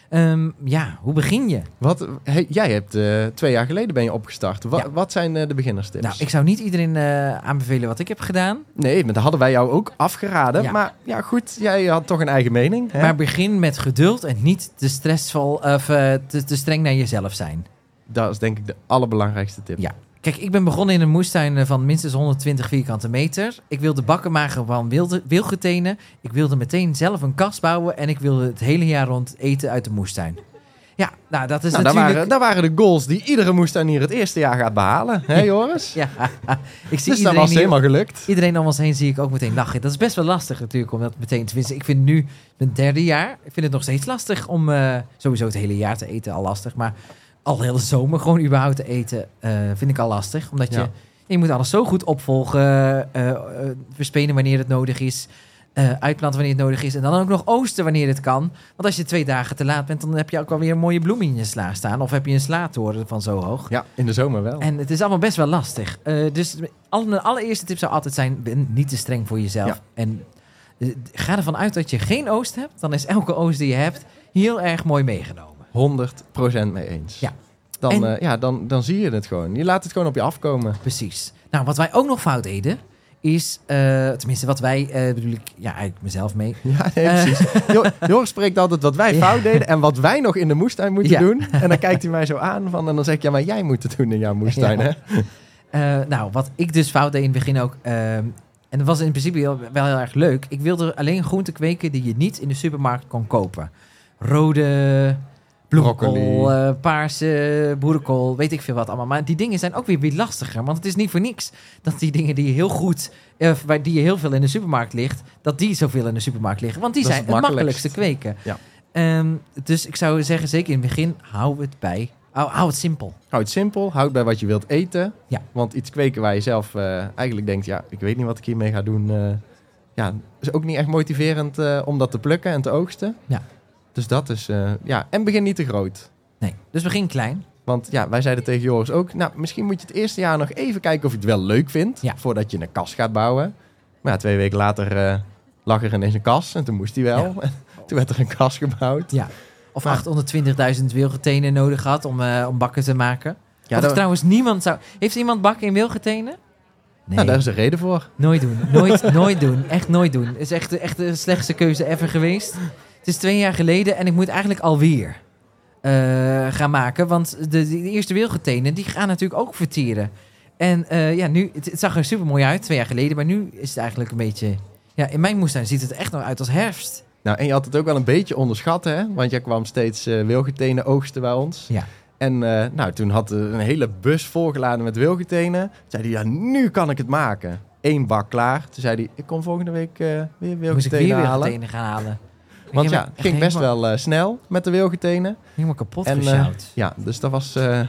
Ehm, ja, hoe begin je? Wat, hey, jij hebt eh, twee jaar geleden ben je opgestart. Wa- Ja. Wat zijn eh, de beginnerstips? Nou, ik zou niet iedereen eh, aanbevelen wat ik heb gedaan. Nee, maar dat hadden wij jou ook afgeraden. Ja. Maar ja, goed, jij had toch een eigen mening. Hè? Maar begin met geduld en niet te stressvol of eh, te, te streng naar jezelf zijn. Dat is denk ik de allerbelangrijkste tip. Nou, Ja. Kijk, ik ben begonnen in een moestuin eh, van minstens 120 vierkante meter. Ik wilde bakken maken van wilde, wilgetenen. Ik wilde meteen zelf een kast bouwen en ik wilde het hele jaar rond eten uit de moestuin. Ja, nou dat is Nou, daar, natuurlijk... waren, daar waren de goals die iedere moestuinier het eerste jaar gaat behalen. Hè, Joris? Ja, ik zie dus dat iedereen was hier- helemaal gelukt. Iedereen om ons heen zie ik ook meteen lachen. Dat is best wel lastig natuurlijk om dat meteen te wissen. Ik vind nu mijn derde jaar, ik vind het nog steeds lastig om eh, sowieso het hele jaar te eten al lastig. Maar al de hele zomer gewoon überhaupt te eten eh, vind ik al lastig. Omdat je, Ja. je moet alles zo goed opvolgen, eh, eh, verspenen wanneer het nodig is. eh, uitplanten wanneer het nodig is. En dan ook nog oosten wanneer het kan. Want als je twee dagen te laat bent, dan heb je ook alweer een mooie bloem in je sla staan. Of heb je een slaatoren van zo hoog. Ja, in de zomer wel. En het is allemaal best wel lastig. Eh, dus al- mijn allereerste tip zou altijd zijn: ben niet te streng voor jezelf. Ja. En eh, ga ervan uit dat je geen oost hebt. Dan is elke oost die je hebt heel erg mooi meegenomen. 100% mee eens. Ja. Dan, En- eh, ja, dan, dan zie je het gewoon. Je laat het gewoon op je afkomen. Precies. Nou, wat wij ook nog fout deden, is, eh, tenminste wat wij, eh, bedoel ik, ja, eigenlijk mezelf mee. Ja, nee, Eh. precies. Jo- Joris spreekt altijd wat wij Ja. fout deden en wat wij nog in de moestuin moeten Ja. doen. En dan kijkt hij mij zo aan van, en dan zeg ik, ja, maar jij moet het doen in jouw moestuin, Ja. hè? Eh, nou, wat ik dus fout deed in het begin ook. ehm, en dat was in principe heel- wel heel erg leuk. Ik wilde alleen groenten kweken die je niet in de supermarkt kon kopen. Rode bloemkool, Broccoli. eh, paarse boerenkool, weet ik veel wat allemaal. Maar die dingen zijn ook weer weer lastiger. Want het is niet voor niks dat die dingen die je heel goed, eh, waar die je heel veel in de supermarkt ligt, dat die zoveel in de supermarkt liggen. Want die Dat is zijn het het makkelijkste kweken. Ja. Ehm, dus ik zou zeggen, zeker in het begin, hou het bij. Hou, hou het simpel. Houd het simpel, houd bij wat je wilt eten. Ja. Want iets kweken waar je zelf eh, eigenlijk denkt, ja, ik weet niet wat ik hiermee ga doen. eh, ja, is ook niet echt motiverend eh, om dat te plukken en te oogsten. Ja. Dus dat is, eh, ja, en begin niet te groot. Nee. Dus begin klein. Want ja, wij zeiden tegen Joris ook, nou, misschien moet je het eerste jaar nog even kijken of je het wel leuk vindt. Ja. Voordat je een kas gaat bouwen. Maar ja, twee weken later eh, lag er ineens een kas en toen moest hij wel. toen werd er een kas gebouwd. Ja. Of Maar- 820.000 wilgetenen nodig had om, eh, om bakken te maken. Ja, dat- trouwens niemand zou... Heeft iemand bakken in wilgetenen? Nee, Nou, daar is een reden voor. nooit doen. Nooit, nooit doen. Echt nooit doen. is echt, echt de slechtste keuze ever geweest. Het is twee jaar geleden en ik moet eigenlijk alweer eh, gaan maken. Want de, de eerste wilgetenen, die gaan natuurlijk ook vertieren. En eh, ja, nu, het, het zag er super mooi uit twee jaar geleden. Maar nu is het eigenlijk een beetje... Ja, in mijn moestuin ziet het er echt nog uit als herfst. Nou, en je had het ook wel een beetje onderschat, hè? Want jij kwam steeds eh, wilgetenen oogsten bij ons. Ja. En eh, nou, toen had eh, een hele bus volgeladen met wilgetenen. Toen zei hij, ja, nu kan ik het maken. Eén bak klaar. Toen zei hij, ik kom volgende week eh, weer Moest ik weer wilgetenen halen. wilgetenen gaan halen. Want Ik heb ja, echt het ging best helemaal- wel eh, snel met de wilgetenen. Helemaal kapot En, eh, gesjouwd. Ja, dus dat was eh,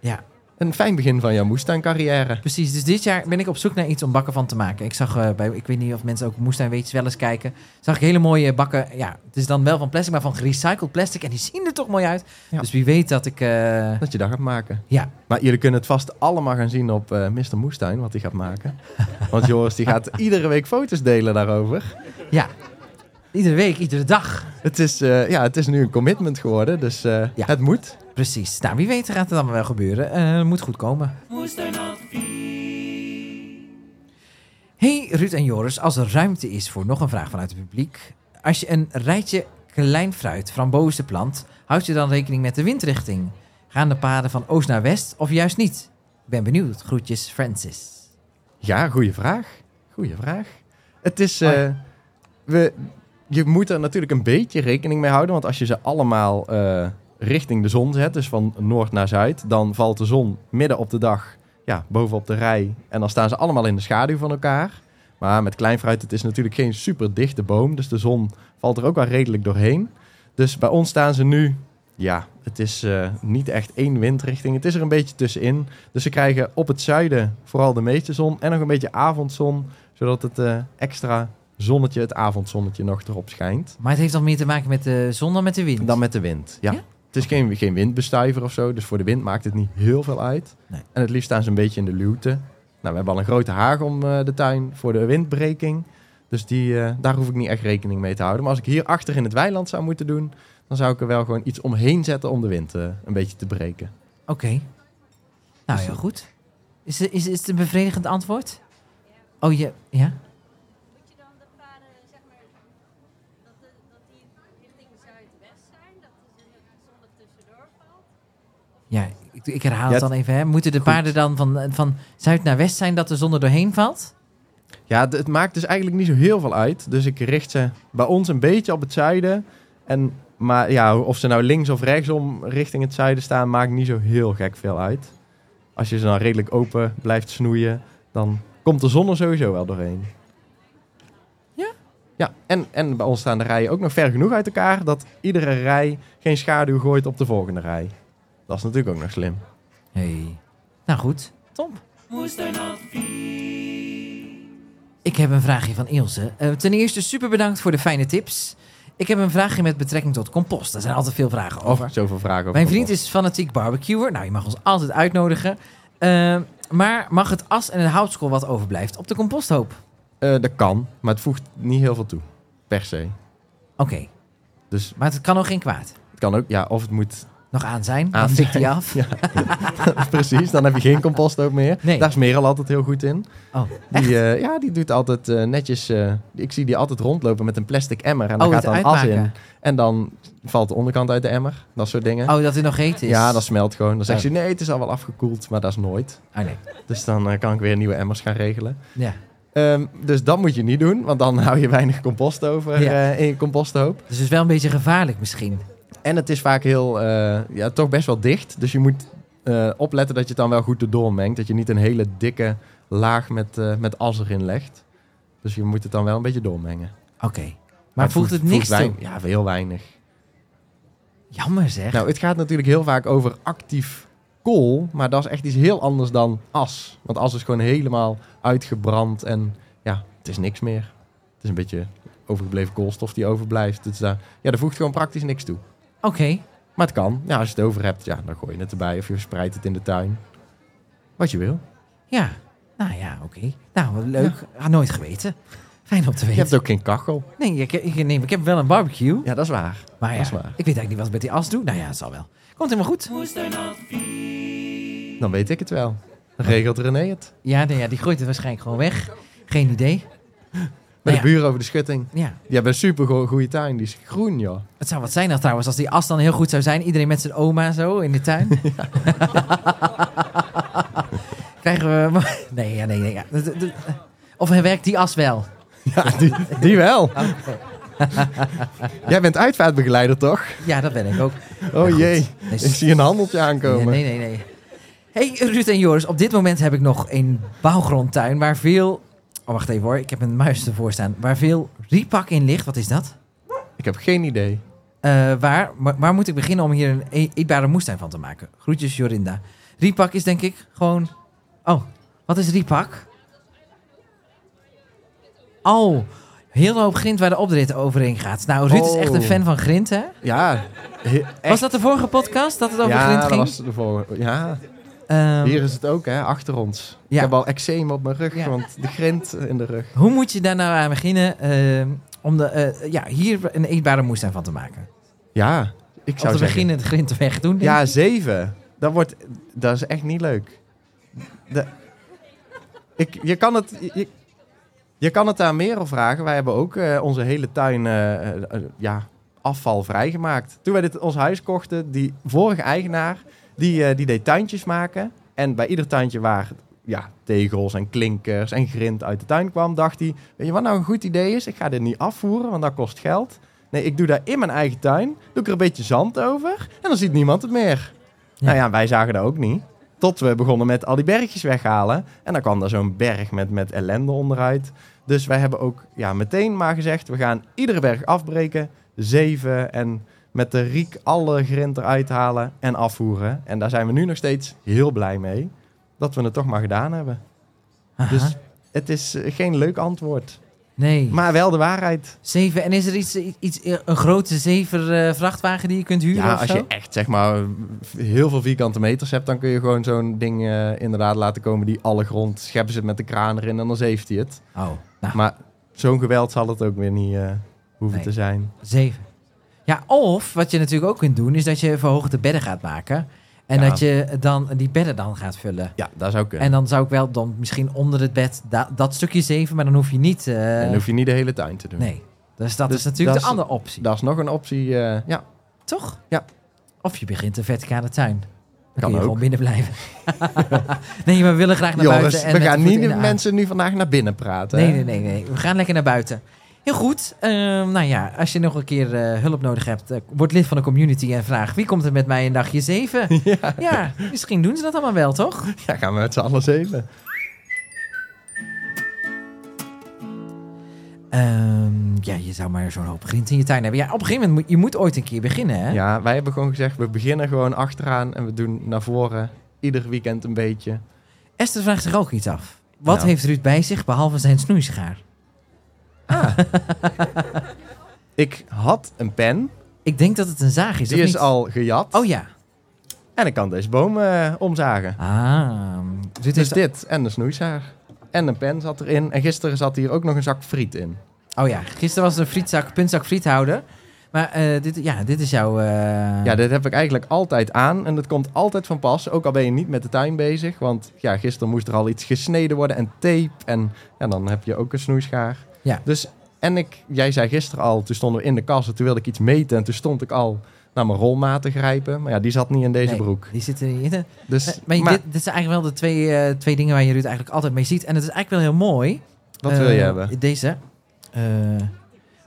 ja, een fijn begin van jouw moestuincarrière. precies. Dus dit jaar ben ik op zoek naar iets om bakken van te maken. Ik zag eh, bij, ik weet niet of mensen ook moestuinweetjes wel eens kijken. Zag ik hele mooie bakken. Ja, het is dan wel van plastic, maar van gerecycled plastic. En die zien er toch mooi uit. Ja. Dus wie weet dat ik... eh, Dat je dat gaat maken. ja, Maar jullie kunnen het vast allemaal gaan zien op eh Mr. Moestuin, wat hij gaat maken. Want Joris die gaat iedere week foto's delen daarover. ja. Iedere week, iedere dag. Het is, eh, ja, het is nu een commitment geworden, dus eh, Ja. het moet. Precies. Nou, wie weet gaat het allemaal wel gebeuren. Eh, moet goed komen. Moestuinadvies. Hey Ruud en Joris, als er ruimte is voor nog een vraag vanuit het publiek. Als je een rijtje klein fruit, frambozen plant, houd je dan rekening met de windrichting? Gaan de paden van oost naar west of juist niet? Ik ben benieuwd. Groetjes, Francis. Ja, goede vraag. Goeie vraag. Het is. eh, we, je moet er natuurlijk een beetje rekening mee houden. Want als je ze allemaal eh, richting de zon zet, dus van noord naar zuid, dan valt de zon midden op de dag ja, bovenop de rij. En dan staan ze allemaal in de schaduw van elkaar. Maar met kleinfruit, het is natuurlijk geen super dichte boom. Dus de zon valt er ook wel redelijk doorheen. Dus bij ons staan ze nu. Ja, het is eh, niet echt één windrichting. Het is er een beetje tussenin. Dus ze krijgen op het zuiden vooral de meeste zon en nog een beetje avondzon, zodat het eh, extra zonnetje, het avondzonnetje nog erop schijnt. Maar het heeft dan meer te maken met de zon dan met de wind. Dan met de wind. Ja. Ja? Het is geen, geen windbestuiver of zo, dus voor de wind maakt het niet heel veel uit. Nee. En het liefst staan ze een beetje in de luwte. Nou, we hebben al een grote haag om eh, de tuin voor de windbreking. Dus die, eh, daar hoef ik niet echt rekening mee te houden. Maar als ik hier achter in het weiland zou moeten doen, dan zou ik er wel gewoon iets omheen zetten om de wind eh, een beetje te breken. Oké. Nou, heel goed. Is, is, is het een bevredigend antwoord? Oh, je, ja? Moet je dan de paden, zeg maar, dat, de, dat die richting zuidwest zijn, dat de zon er- zon er tussendoor valt? Ja, ik, ik herhaal Ja, het het- dan even. Hè. Moeten de paarden dan van, van zuid naar west zijn dat de zon er doorheen valt? Ja, d- het maakt dus eigenlijk niet zo heel veel uit. Dus ik richt ze bij ons een beetje op het zuiden. En Maar ja, of ze nou links of rechtsom richting het zuiden staan, maakt niet zo heel gek veel uit. Als je ze dan redelijk open blijft snoeien, dan komt de zon er sowieso wel doorheen. Ja? Ja, en, en bij ons staan de rijen ook nog ver genoeg uit elkaar dat iedere rij geen schaduw gooit op de volgende rij. Dat is natuurlijk ook nog slim. Hey. Nou goed, top. Moestuinadvies. Ik heb een vraagje van Ilse. Eh, ten eerste super bedankt voor de fijne tips. Ik heb een vraagje met betrekking tot compost. Daar zijn altijd veel vragen Of over. zoveel vragen over. Mijn vriend is fanatiek barbecuer. Nou, je mag ons altijd uitnodigen. Eh, maar mag het as en het houtskool wat overblijft op de composthoop? Eh, dat kan, maar het voegt niet heel veel toe. Per se. Oké, Dus maar het kan nog geen kwaad. het kan ook, ja, of het moet Nog aan zijn, Aan dan fikt hij zijn. af. Ja. Precies, dan heb je geen compost ook meer. Nee. Daar is Merel altijd heel goed in. Oh, Die, eh, ja, die doet altijd eh, netjes... eh, ik zie die altijd rondlopen met een plastic emmer. En Oh, daar het gaat dan as uitmaken. in. En dan valt de onderkant uit de emmer. Dat soort dingen. oh dat het nog heet is. Oh. Ja, dat smelt gewoon. Dan zegt Ja. ze, nee, het is al wel afgekoeld. Maar dat is nooit. Oh, nee. Dus dan eh, kan ik weer nieuwe emmers gaan regelen. Ja. Ehm, dus dat moet je niet doen. Want dan hou je weinig compost over Ja. eh, in je composthoop. Dus het is wel een beetje gevaarlijk misschien. En het is vaak heel, eh, ja, toch best wel dicht. Dus je moet eh, opletten dat je het dan wel goed erdoor mengt. Dat je niet een hele dikke laag met, eh, met as erin legt. Dus je moet het dan wel een beetje doormengen. Oké. Maar, voegt het niks toe? weinig, Ja, heel weinig. Jammer zeg. Nou, het gaat natuurlijk heel vaak over actief kool. Maar dat is echt iets heel anders dan as. Want as is gewoon helemaal uitgebrand. En ja, het is niks meer. Het is een beetje overgebleven koolstof die overblijft. Dus daar, ja, daar voegt gewoon praktisch niks toe. Oké. Maar het kan. Ja, als je het over hebt, ja, dan gooi je het erbij of je verspreidt het in de tuin. Wat je wil. Ja. Nou ja, oké. Nou, wat leuk. Had nooit geweten. Fijn om te Je weten. hebt ook geen kachel. Nee, ik, ik, nee, ik heb wel een barbecue. Ja, dat is waar. maar ja, dat is ik weet waar. eigenlijk niet wat ik met die as doe. Nou ja, het zal wel. Komt helemaal goed. Dan weet ik het wel. Dan regelt René het. Ja, nee, ja die gooit het waarschijnlijk gewoon weg. Geen idee. Met Ja. de buren over de schutting. Ja. Die hebben een super goede tuin. Die is groen, joh. Het zou wat zijn dan trouwens als die as dan heel goed zou zijn. Iedereen met zijn oma zo in de tuin. Krijgen we... Nee, ja, nee, nee. Ja. Dat- dat- Of werkt die as wel? Ja, die, die wel. Jij bent uitvaartbegeleider, toch? Ja, dat ben ik ook. Oh goed. jee. Nee, Ik zie een handeltje aankomen. Nee, nee, nee. nee. hey, Ruud en Joris, op dit moment heb ik nog een bouwgrondtuin waar veel... Oh, wacht even hoor. Ik heb een muis ervoor staan. Waar veel riepak in ligt. Wat is dat? Ik heb geen idee. Eh, waar, maar- waar moet ik beginnen om hier een e- eetbare moestuin van te maken? Groetjes, Jorinda. Riepak is denk ik gewoon... Oh, wat is riepak? Oh, heel hoop grind waar de opdrit overheen gaat. Nou, Ruud is echt een Oh. fan van grind, hè? Ja, he- Was echt. dat de vorige podcast dat het over ja, grind dat ging? was de volgende. Ja, Ehm, hier is het ook, hè, achter ons. Ja. Ik heb al eczeem op mijn rug, Ja. want de grind in de rug. Hoe moet je daar nou aan beginnen ehm, om de, eh, ja, hier een eetbare moestuin van te maken? Ja, ik om zou te zeggen. beginnen het grind weg doen. Ja, zeven. Dat wordt... Dat is echt niet leuk. Dat- ik, je kan het... Je, je kan het aan Merel vragen. Wij hebben ook eh, onze hele tuin eh, eh, eh, ja, afval vrijgemaakt. Toen wij dit, ons huis kochten, die vorige eigenaar, die, eh, die deed tuintjes maken. En bij ieder tuintje waar ja, tegels en klinkers en grind uit de tuin kwam, dacht hij... Weet je wat nou een goed idee is? Ik ga dit niet afvoeren, want dat kost geld. Nee, ik doe daar in mijn eigen tuin. Doe ik er een beetje zand over. En dan ziet niemand het meer. Ja. Nou ja, wij zagen dat ook niet. Tot we begonnen met al die bergjes weghalen. En dan kwam daar zo'n berg met, met ellende onderuit. Dus wij hebben ook ja, meteen maar gezegd... we gaan iedere berg afbreken. Zeven en met de riek alle grind eruit halen en afvoeren. En daar zijn we nu nog steeds heel blij mee. Dat we het toch maar gedaan hebben. Aha. Dus het is eh, geen leuk antwoord. nee. Maar wel de waarheid. Zeven. En is er iets, iets een grote zeven eh, vrachtwagen die je kunt huren? Ja, of als zo? je echt zeg maar heel veel vierkante meters hebt, dan kun je gewoon zo'n ding eh, inderdaad laten komen die alle grond scheppen ze het met de kraan erin en dan zeeft hij het. Oh, nou, Maar zo'n geweld zal het ook weer niet eh, hoeven Nee. te zijn. zeven. Ja, of wat je natuurlijk ook kunt doen, is dat je verhoogde bedden gaat maken. En Ja. dat je dan die bedden dan gaat vullen. Ja, dat zou kunnen. En En dan zou ik wel dan misschien onder het bed da- dat stukje zeven, maar dan hoef je niet. eh, dan hoef je niet de hele tuin te doen. Nee. Dus dat Dus is natuurlijk dat de is- andere optie. Dat is nog een optie. eh, ja, Toch? Ja. Of je begint een verticale tuin. Dan Kan kun je ook. gewoon binnen blijven. nee, maar we willen graag naar Joris, buiten. en we met gaan de voeten niet in de de aarde. mensen nu vandaag naar binnen praten. Nee, hè? nee, nee, nee. We gaan lekker naar buiten. Heel goed. Ehm, nou ja, als je nog een keer eh, hulp nodig hebt, eh, word lid van de community en vraag wie komt er met mij in dagje 7? Ja. misschien doen ze dat allemaal wel, toch? Ja, gaan we met z'n allen zeven. Ehm, ja, je zou maar zo'n hoop grind in je tuin hebben. Ja, op een gegeven moment moet je moet ooit een keer beginnen, hè? Ja, wij hebben gewoon gezegd, we beginnen gewoon achteraan en we doen naar voren. Ieder weekend een beetje. Esther vraagt zich ook iets af. Wat Nou. heeft Ruud bij zich behalve zijn snoeischaar? Ik had een pen, Ik denk dat het een zaag is. die of is niet? al gejat. Oh ja. En ik kan deze boom eh, omzagen. Ah, Ruud Dus heeft dit en een snoeizaag. En een pen zat erin. En gisteren zat hier ook nog een zak friet in. Oh ja, gisteren was er een frietzak, puntzak friethouder. Maar eh, dit, ja, dit is jouw... eh, Ja, dit heb ik eigenlijk altijd aan. En dat komt altijd van pas. Ook al ben je niet met de tuin bezig. Want ja, gisteren moest er al iets gesneden worden. En tape. En ja, dan heb je ook een snoeischaar. Ja. Dus, en ik, jij zei gisteren al, toen stonden we in de kast. en Toen wilde ik iets meten. En toen stond ik al naar mijn rolmaat te grijpen. Maar ja, die zat niet in deze nee, broek. Die zitten niet in. Dus, Eh, Maar, Dit, dit zijn eigenlijk wel de twee, eh, twee dingen waar je Ruud eigenlijk altijd mee ziet. En het is eigenlijk wel heel mooi. wat Eh, wil je hebben? Deze. Eh,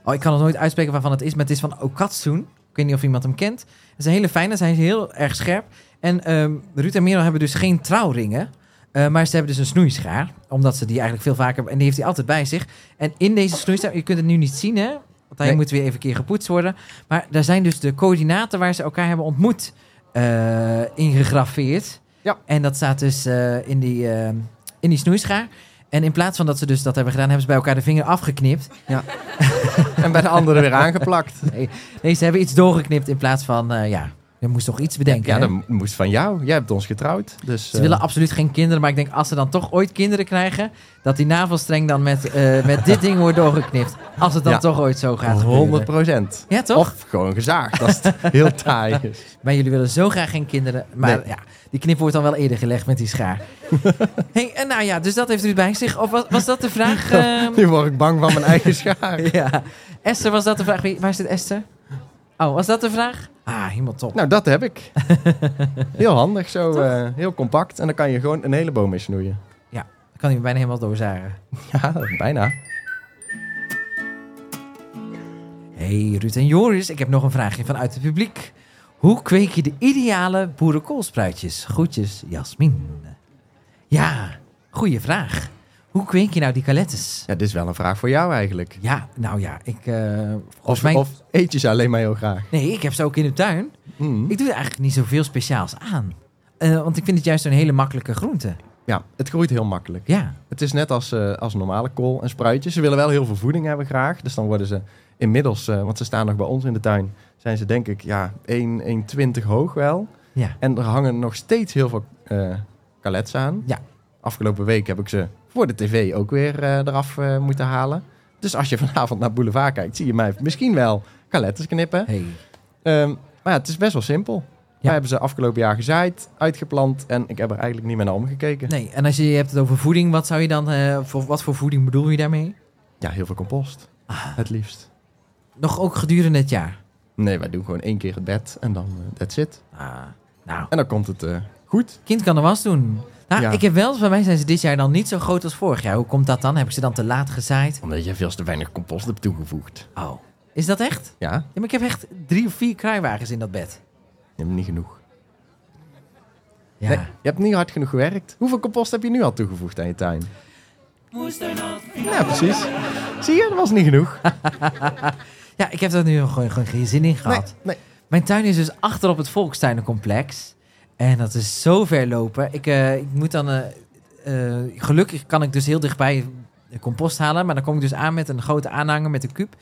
oh, ik kan het nooit uitspreken waarvan het is, maar het is van Okatsun. Ik weet niet of iemand hem kent. Het is een hele fijne, hij is heel erg scherp. En ehm Ruud en Merel hebben dus geen trouwringen. eh, maar ze hebben dus een snoeischaar. Omdat ze die eigenlijk veel vaker hebben. En die heeft hij altijd bij zich. En in deze snoeischaar, je kunt het nu niet zien hè. Want hij Nee. moet weer even een keer gepoetst worden. Maar daar zijn dus de coördinaten waar ze elkaar hebben ontmoet eh, ingegraveerd. Ja. En dat staat dus eh, in, die, eh, in die snoeischaar. En in plaats van dat ze dus dat hebben gedaan, hebben ze bij elkaar de vinger afgeknipt. En bij de andere weer aangeplakt. Nee, ze hebben iets doorgeknipt in plaats van, eh, ja, je moest toch iets bedenken. Ja, hè? dat mo- moest van jou. Jij hebt ons getrouwd. Dus, Ze eh, willen absoluut geen kinderen, maar ik denk als ze dan toch ooit kinderen krijgen, dat die navelstreng dan met, eh, met dit ding wordt doorgeknipt. Als het dan Ja. toch ooit zo gaat 100 gebeuren. procent. Ja, toch? Of gewoon gezaagd, als het heel taai is. Maar jullie willen zo graag geen kinderen. Maar Nee. ja, die knip wordt dan wel eerder gelegd met die schaar. hey, en nou ja, dus dat heeft u bij zich. Of was, was dat de vraag? ehm, Nu word ik bang van mijn eigen schaar. ja. Esther, was dat de vraag? Wie- Waar zit Esther? Oh, was dat de vraag? Ah, helemaal top. Nou, dat heb ik. Heel handig, zo eh, heel compact. En dan kan je gewoon een hele boom mee snoeien. Ik kan hij me bijna helemaal doorzagen. Ja, bijna. hey, Ruud en Joris, ik heb nog een vraagje vanuit het publiek. Hoe kweek je de ideale boerenkoolspruitjes? Groetjes, Jasmin. Ja, goede vraag. Hoe kweek je nou die calettes? Ja, dit is wel een vraag voor jou eigenlijk. Ja, nou ja, ik... eh volgens Of, mij... of eet je ze alleen maar heel graag? Nee, ik heb ze ook in de tuin. Mm. Ik doe er eigenlijk niet zoveel speciaals aan. Eh, want ik vind het juist een hele makkelijke groente. Ja, het groeit heel makkelijk. Ja, Het is net als, eh, als normale kool en spruitjes. Ze willen wel heel veel voeding hebben graag. Dus dan worden ze inmiddels, eh, want ze staan nog bij ons in de tuin, zijn ze denk ik ja, 1, 1,20 hoog wel. ja. En er hangen nog steeds heel veel eh kalets aan. Ja. Afgelopen week heb ik ze voor de tv ook weer eh, eraf eh, moeten halen. Dus als je vanavond naar Boulevard kijkt, zie je mij misschien wel kaletten knippen. Hey. Ehm, maar ja, het is best wel simpel. We hebben ze afgelopen jaar gezaaid, uitgeplant en ik heb er eigenlijk niet meer naar omgekeken. Nee, en als je, je hebt het over voeding, wat zou je dan... eh, voor, wat voor voeding bedoel je daarmee? Ja, heel veel compost. Ah. Het liefst. Nog ook gedurende het jaar. Nee, wij doen gewoon één keer het bed en dan eh, that's it. Ah, nou, En dan komt het eh, goed. kind kan de was doen. Nou, Ja. ik heb wel... Bij mij zijn ze dit jaar dan niet zo groot als vorig jaar. Hoe komt dat dan? Heb ik ze dan te laat gezaaid? Omdat je veel te weinig compost hebt toegevoegd. Oh. Is dat echt? Ja, Ja, maar ik heb echt drie of vier kruiwagens in dat bed. je hebt niet genoeg. Ja. Nee, je hebt niet hard genoeg gewerkt. Hoeveel compost heb je nu al toegevoegd aan je tuin? Ja, precies. Zie je, dat was niet genoeg. Ja, ik heb daar nu gewoon, gewoon geen zin in gehad. Nee, Mijn tuin is dus achter op het Volkstuinencomplex. En dat is zo ver lopen. Ik, eh, ik moet dan... eh, eh, gelukkig kan ik dus heel dichtbij de compost halen. Maar dan kom ik dus aan met een grote aanhanger met een kuub.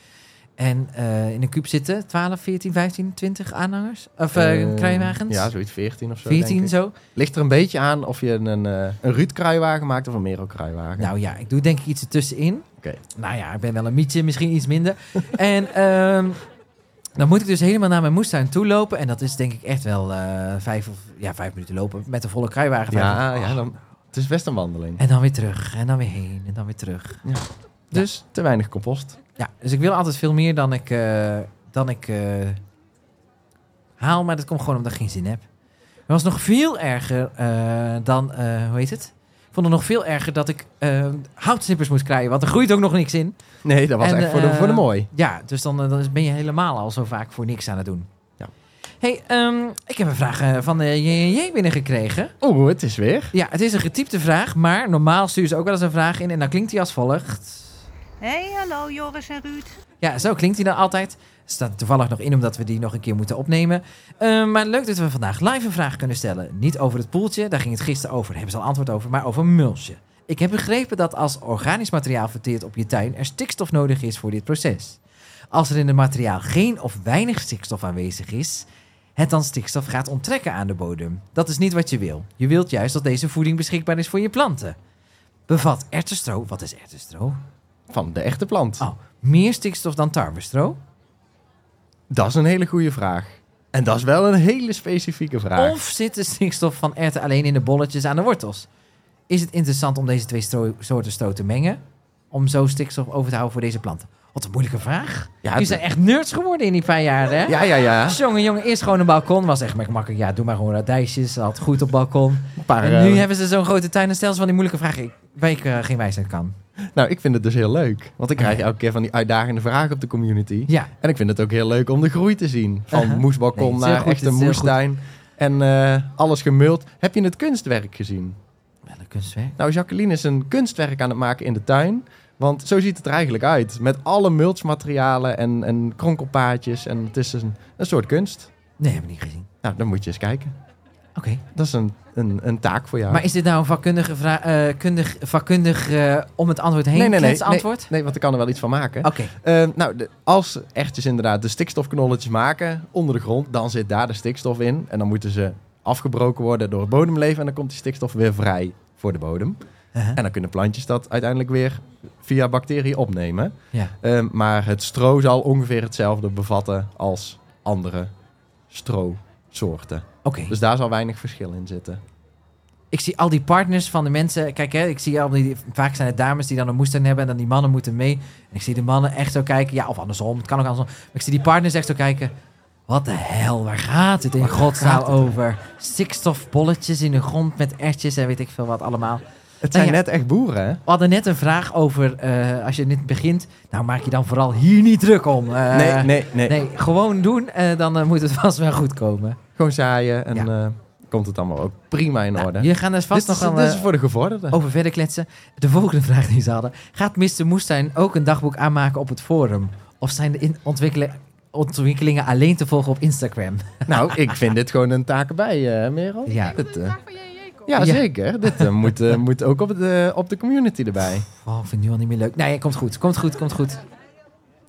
En eh, in een kuub zitten 12, 14, 15, 20 aanhangers. Of eh Eh, kruiwagens. Ja, zoiets 14 of zo. 14 denk ik. zo. Ligt er een beetje aan of je een, eh, een Ruud kruiwagen maakt of een Merel kruiwagen. Nou ja, ik doe denk ik iets ertussenin. Oké. Nou ja, ik ben wel een mietje, misschien iets minder. en ehm, dan moet ik dus helemaal naar mijn moestuin toe lopen. En dat is denk ik echt wel eh, vijf, of, ja, vijf minuten lopen met de volle kruiwagen. Ja, nou. ja dan, het is best een wandeling. En dan weer terug, en dan weer heen, en dan weer terug. Dus te weinig compost. Ja, dus ik wil altijd veel meer dan ik, eh, dan ik eh, haal. Maar dat komt gewoon omdat ik geen zin heb. Het was nog veel erger eh, dan, eh, hoe heet het? vond het nog veel erger dat ik eh, houtsnippers moest krijgen. Want er groeit ook nog niks in. Nee, dat was En, echt voor de, eh, voor de mooi. Ja, dus dan, eh, dan ben je helemaal al zo vaak voor niks aan het doen. Ja. hey, ehm, ik heb een vraag eh, van de JJ binnengekregen. Oeh, Oh, het is weer. Ja, het is een getypte vraag, maar normaal stuur ze ook wel eens een vraag in en dan klinkt die als volgt. Hey, hallo Joris en Ruud. Ja, zo klinkt hij dan altijd. Staat er toevallig nog in omdat we die nog een keer moeten opnemen. Eh, maar leuk dat we vandaag live een vraag kunnen stellen. Niet over het poeltje, daar ging het gisteren over, daar hebben ze al antwoord over, maar over mulsje. Ik heb begrepen dat als organisch materiaal verteert op je tuin er stikstof nodig is voor dit proces. Als er in het materiaal geen of weinig stikstof aanwezig is, het dan stikstof gaat onttrekken aan de bodem. Dat is niet wat je wil. Je wilt juist dat deze voeding beschikbaar is voor je planten. Bevat erwtenstro, wat is erwtenstro? Van de echte plant. Oh, meer stikstof dan tarwestro? Dat is een hele goede vraag. En dat is wel een hele specifieke vraag. Of zit de stikstof van erwten alleen in de bolletjes aan de wortels? Is het interessant om deze twee stro- soorten stro te mengen? Om zo stikstof over te houden voor deze planten? Wat een moeilijke vraag. Ja, Jullie het- zijn echt nerds geworden in die paar jaar, hè? Ja, ja, ja. Jongen, jongen, eerst gewoon een balkon. Was echt makkelijk. Ja, doe maar gewoon radijsjes. Had goed op balkon. paar, en nu eh, hebben ze zo'n grote tuin en stel ze van die moeilijke vragen. Ik, waar ik eh, geen wijsheid kan. Nou, ik vind het dus heel leuk. Want ik krijg elke keer van die uitdagende vragen op de community. Ja, En ik vind het ook heel leuk om de groei te zien. Van Aha. Nee, moesbalkon het is heel naar goed, echte het is heel moestuin. En eh, alles gemuld. Heb je het kunstwerk gezien? wel een kunstwerk. Nou, Jacqueline is een kunstwerk aan het maken in de tuin. Want zo ziet het er eigenlijk uit. Met alle mulchmaterialen en, en kronkelpaadjes. En het is een, een soort kunst. Nee, heb ik niet gezien. Nou, dan moet je eens kijken. Oké. Dat is een, een, een taak voor jou. Maar is dit nou een vakkundige vra- eh, kundig, vakkundig eh, om het antwoord heen? nee, nee, nee, nee, antwoord? nee, want ik kan er wel iets van maken. Oké. Eh, nou, de- als ertjes inderdaad de stikstofknolletjes maken onder de grond, dan zit daar de stikstof in. En dan moeten ze afgebroken worden door het bodemleven. En dan komt die stikstof weer vrij voor de bodem. Uh-huh. En dan kunnen plantjes dat uiteindelijk weer via bacteriën opnemen. Ja. Eh, maar het stro zal ongeveer hetzelfde bevatten als andere stroosoorten. Oké, Dus daar zal weinig verschil in zitten. ik zie al die partners van de mensen. Kijk, hè, ik zie al die, vaak zijn het dames die dan een moestuin hebben en dan die mannen moeten mee. En ik zie de mannen echt zo kijken. Ja, of andersom, het kan ook andersom. Maar ik zie die partners echt zo kijken. Wat de hel, waar gaat het in godsnaam over? Stikstofbolletjes in de grond met ertjes en weet ik veel wat allemaal. Het Nou zijn ja. net echt boeren, hè? We hadden net een vraag over, eh, als je net begint, nou maak je dan vooral hier niet druk om. Eh, nee, nee, nee, nee, gewoon doen, eh, dan eh, moet het vast wel goed komen. Gewoon zaaien en Ja. eh, komt het allemaal ook prima in orde. Nou, jullie gaan dus vast dit, nog is, wel... dit eh, is voor de Oh, gevorderden. over verder kletsen. De volgende vraag die ze hadden. Gaat Mr. Moestuin ook een dagboek aanmaken op het forum? Of zijn de in- ontwikkelen- ontwikkelingen alleen te volgen op Instagram? Nou, ik vind dit gewoon een taak bij, eh Merel. Ja. Dit, eh, Vraag van JJ komt. ja, Ja. zeker. Dit eh, moet, eh, moet ook op de, op de community erbij. Oh, ik vind het nu al niet meer leuk. Nee, komt goed. Komt goed, komt goed.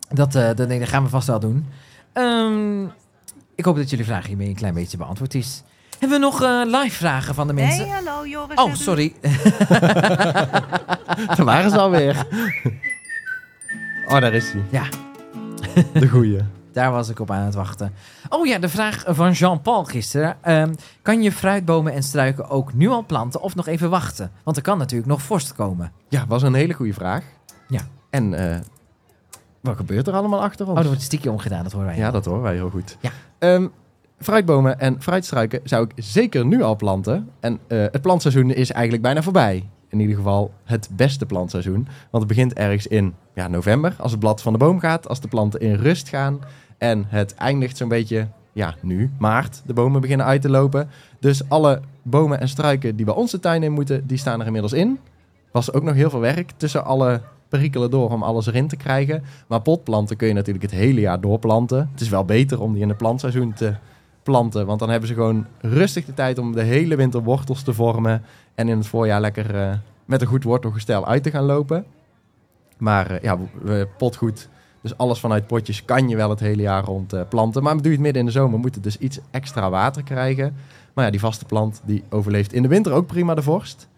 Dat, eh, dat, nee, dat gaan we vast wel doen. Ehm, ik hoop dat jullie vraag hiermee een klein beetje beantwoord is. Hebben we nog eh, live vragen van de mensen? Hey, hallo Joris en Oh, Ruud. sorry. Daar waren ze alweer. Oh, daar is hij. Ja, De goeie. Daar was ik op aan het wachten. Oh ja, de vraag van Jean-Paul gisteren. Ehm, kan je fruitbomen en struiken ook nu al planten of nog even wachten? Want er kan natuurlijk nog vorst komen. Oh, Ja, was een hele goede vraag. Ja. En eh, wat gebeurt er allemaal achter Oh, ons? dat wordt stiekem omgedaan, dat horen wij. Ja, dat horen wij heel goed. Ja. Ehm, fruitbomen en fruitstruiken zou ik zeker nu al planten. En eh, het plantseizoen is eigenlijk bijna voorbij. In ieder geval het beste plantseizoen. Want het begint ergens in ja, november, als het blad van de boom gaat, als de planten in rust gaan. En het eindigt zo'n beetje, ja, nu, maart. De bomen beginnen uit te lopen. Dus alle bomen en struiken die bij onze tuin in moeten, die staan er inmiddels in. Was ook nog heel veel werk tussen alle perikelen door om alles erin te krijgen. Maar potplanten kun je natuurlijk het hele jaar doorplanten. Het is wel beter om die in het plantseizoen te planten. Want dan hebben ze gewoon rustig de tijd om de hele winter wortels te vormen. En in het voorjaar lekker eh, met een goed wortelgestel uit te gaan lopen. Maar eh, ja, w- eh, potgoed. Dus alles vanuit potjes kan je wel het hele jaar rond eh, planten. Maar doe je het midden in de zomer, moet het dus iets extra water krijgen. Maar ja, die vaste plant die overleeft in de winter ook prima de vorst.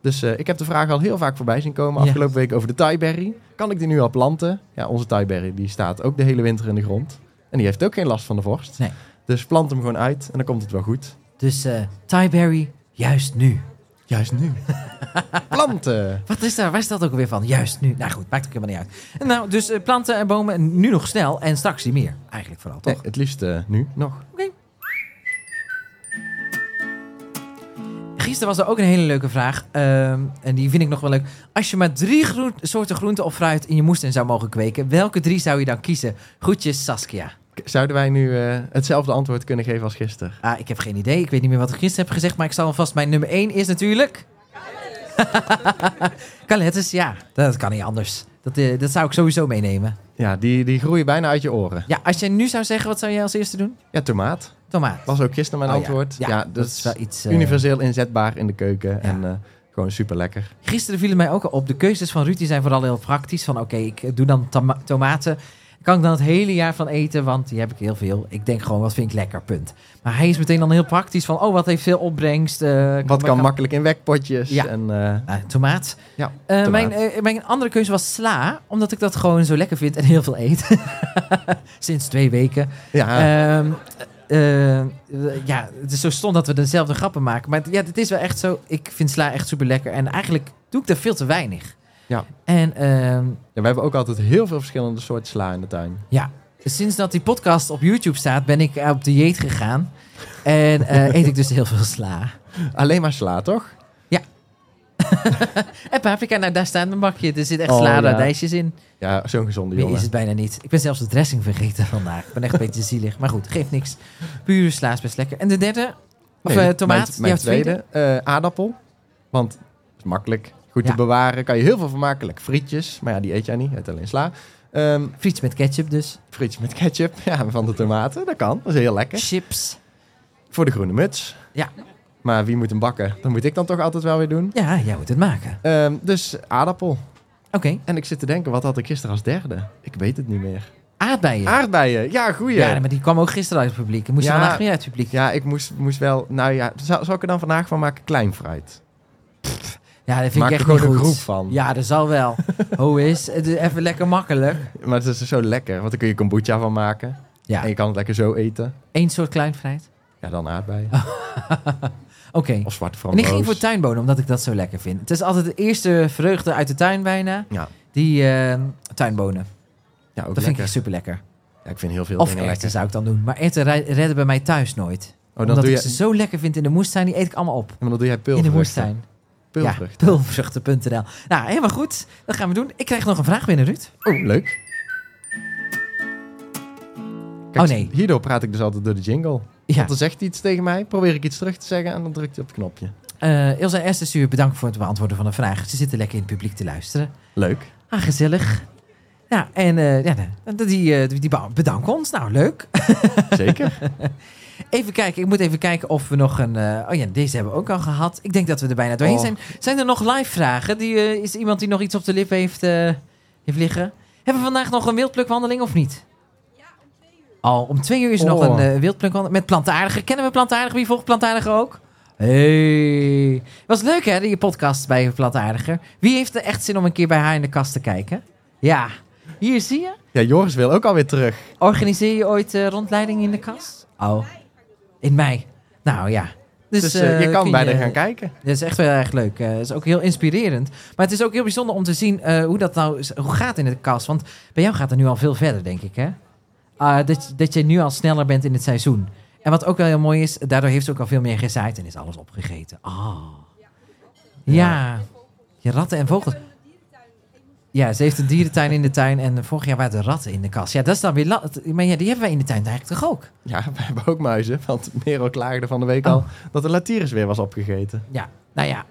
Dus eh, ik heb de vraag al heel vaak voorbij zien komen Ja. afgelopen week over de taiberry. Kan ik die nu al planten? Ja, onze taiberry die staat ook de hele winter in de grond. En die heeft ook geen last van de vorst. Nee. Dus plant hem gewoon uit en dan komt het wel goed. Dus eh Tyberry, juist nu. Juist nu. Planten! Wat is daar? Waar is dat ook alweer van? Juist nu. Nou goed, maakt ook helemaal niet uit. Nou, dus eh, planten en bomen nu nog snel en straks niet meer. Eigenlijk vooral, toch? Nee, het liefst eh, nu nog. Gisteren was er ook een hele leuke vraag. ehm, en die vind ik nog wel leuk. Als je maar drie groen- soorten groente of fruit in je moestuin zou mogen kweken, welke drie zou je dan kiezen? Groetjes, Saskia. K- Zouden wij nu eh, hetzelfde antwoord kunnen geven als gisteren? Ah, ik heb geen idee. Ik weet niet meer wat ik gisteren heb gezegd, maar ik zal alvast mijn nummer 1 is natuurlijk. Calettes, ja, dat kan niet anders. Dat, eh, dat zou ik sowieso meenemen. Ja, die, die groeien bijna uit je oren. Ja, als jij nu zou zeggen, wat zou jij als eerste doen? Ja, tomaat. Tomaat. Was ook gisteren mijn Oh ja. antwoord. Ja, dus dat is wel iets, eh, universeel inzetbaar in de keuken en eh, gewoon super lekker. Gisteren vielen mij ook al op. De keuzes van Ruud die zijn vooral heel praktisch. Van oké, ik eh, doe dan toma- tomaten. Kan ik dan het hele jaar van eten, want die heb ik heel veel. Ik denk gewoon, wat vind ik lekker, punt. Maar hij is meteen dan heel praktisch van, oh, wat heeft veel opbrengst. eh, Wat kan makkelijk in wekpotjes. Ja. En, eh, Nou, tomaat. ja, Eh, tomaat. mijn, eh, mijn andere keuze was sla, omdat ik dat gewoon zo lekker vind en heel veel eet. Sinds twee weken. ja, Ehm, eh, eh, ja, het is zo stom dat we dezelfde grappen maken. Maar het- ja, het is wel echt zo. Ik vind sla echt super lekker. En eigenlijk doe ik er veel te weinig. Ja. En ehm, Ja, we hebben ook altijd heel veel verschillende soorten sla in de tuin. ja, sinds dat die podcast op YouTube staat, ben ik eh, op dieet gegaan. En eh, eet ik dus heel veel sla. Alleen maar sla, toch? En paprika, nou daar staat mijn bakje. Er zit echt Oh, sla ja. radijsjes in. Ja, zo'n gezonde Meer jongen. is het bijna niet. Ik ben zelfs de dressing vergeten vandaag. Ik ben echt een beetje zielig. Maar goed, geeft niks. Pure sla is best lekker. En de derde? Of Nee, eh, mijn- tomaat? Mijn, Jouw tweede, eh, aardappel. Want het is makkelijk. Goed Ja. te bewaren. Kan je heel veel van maken. Lekker frietjes. Maar ja, die eet jij niet. Je eet alleen sla. Ehm Friets met ketchup dus. frietjes met ketchup. Ja, van de tomaten. Dat kan. Dat is heel lekker. Chips. Voor de groene muts. Ja. Maar wie moet hem bakken? Dat moet ik dan toch altijd wel weer doen. Ja, jij moet het maken. Ehm, dus aardappel. Oké. En ik zit te denken, wat had ik gisteren als derde? Ik weet het niet meer. Aardbeien. Aardbeien. Ja, goeie. Ja, maar die kwam ook gisteren uit het publiek. Moest Ja. je vandaag weer uit het publiek. Ja. Ja, ik moest, moest wel... Nou ja, zal, zal ik er dan vandaag van maken? Kleinfruit. dat vind Maak ik er echt gewoon niet een goed. groep van. Ja, dat zal wel. Hoe is? het is Even lekker makkelijk. Maar het is dus zo lekker, want dan kun je kombucha van maken. Ja, En je kan het lekker zo eten. één soort kleinvrijheid. Ja, dan aardbeien. Oké. Of zwarte Ah. En framboos. ik ging voor tuinbonen, omdat ik dat zo lekker vind. Het is altijd de eerste vreugde uit de tuin bijna. Ja, Die eh, tuinbonen. ja dat ook vind ik lekker. echt super lekker. Ja, ik vind heel veel Of dingen erwten lekker. zou ik dan doen. Maar erwten rij- redden bij mij thuis nooit. Oh, dan Omdat doe, ik je, ze zo lekker vind in de moestuin, die eet ik allemaal op. maar dan doe jij In de peulvruchten. moestuin. Peulvrucht. Ja, pulvruchten.nl. Nou, helemaal goed. Dat gaan we doen. Ik krijg nog een vraag binnen, Ruud. Oh, leuk. Oh, nee. Hierdoor praat ik dus altijd door de jingle. Ja. Want dan zegt hij iets tegen mij, probeer ik iets terug te zeggen en dan drukt hij op het knopje. Eh Ilse en Esther Stuur, bedankt voor het beantwoorden van de vraag. Ze zitten lekker in het publiek te luisteren. Leuk. Ah, gezellig. Ja, en eh, ja, nou, die, eh, die die bedanken ons. Nou, leuk. Zeker. Even kijken, ik moet even kijken of we nog een... eh, oh ja, deze hebben we ook al gehad. Ik denk dat we er bijna doorheen Oh. zijn. Zijn er nog live vragen? Die, eh, is er iemand die nog iets op de lip heeft, eh, heeft liggen? Hebben we vandaag nog een wildplukwandeling of niet? Al om twee uur is er nog Oh. een eh, wildplukwandeling met plantaardigen. Kennen we plantaardigen? Wie volgt plantaardigen ook? Hey. Was leuk hè, die podcast bij plantaardigen. Wie heeft er echt zin om een keer bij haar in de kast te kijken? Ja, hier zie je. Ja, Joris wil ook alweer terug. Organiseer je ooit eh, rondleiding in de kast? Oh, in mei. Nou ja. Dus, Dus, eh, je eh, kan kun bijna gaan kijken. Dat is echt wel erg leuk. Eh, Het is ook heel inspirerend. Maar het is ook heel bijzonder om te zien eh, hoe dat nou is- hoe gaat in de kast. Want bij jou gaat het nu al veel verder, denk ik. Hè? Ah, dat, dat je nu al sneller bent in het seizoen. En wat ook wel heel mooi is, daardoor heeft ze ook al veel meer gezaaid en is alles opgegeten. Ah. Ja. Je ratten en vogels. Ja, ze heeft een dierentuin in de tuin en vorig jaar waren er ratten in de kast. Ja, dat is dan weer... la- Maar ja, die hebben wij in de tuin eigenlijk toch ook? Ja, we hebben ook muizen, want Merel klaagde van de Oh. week al dat de Latirus weer was opgegeten. Ja, nou ja.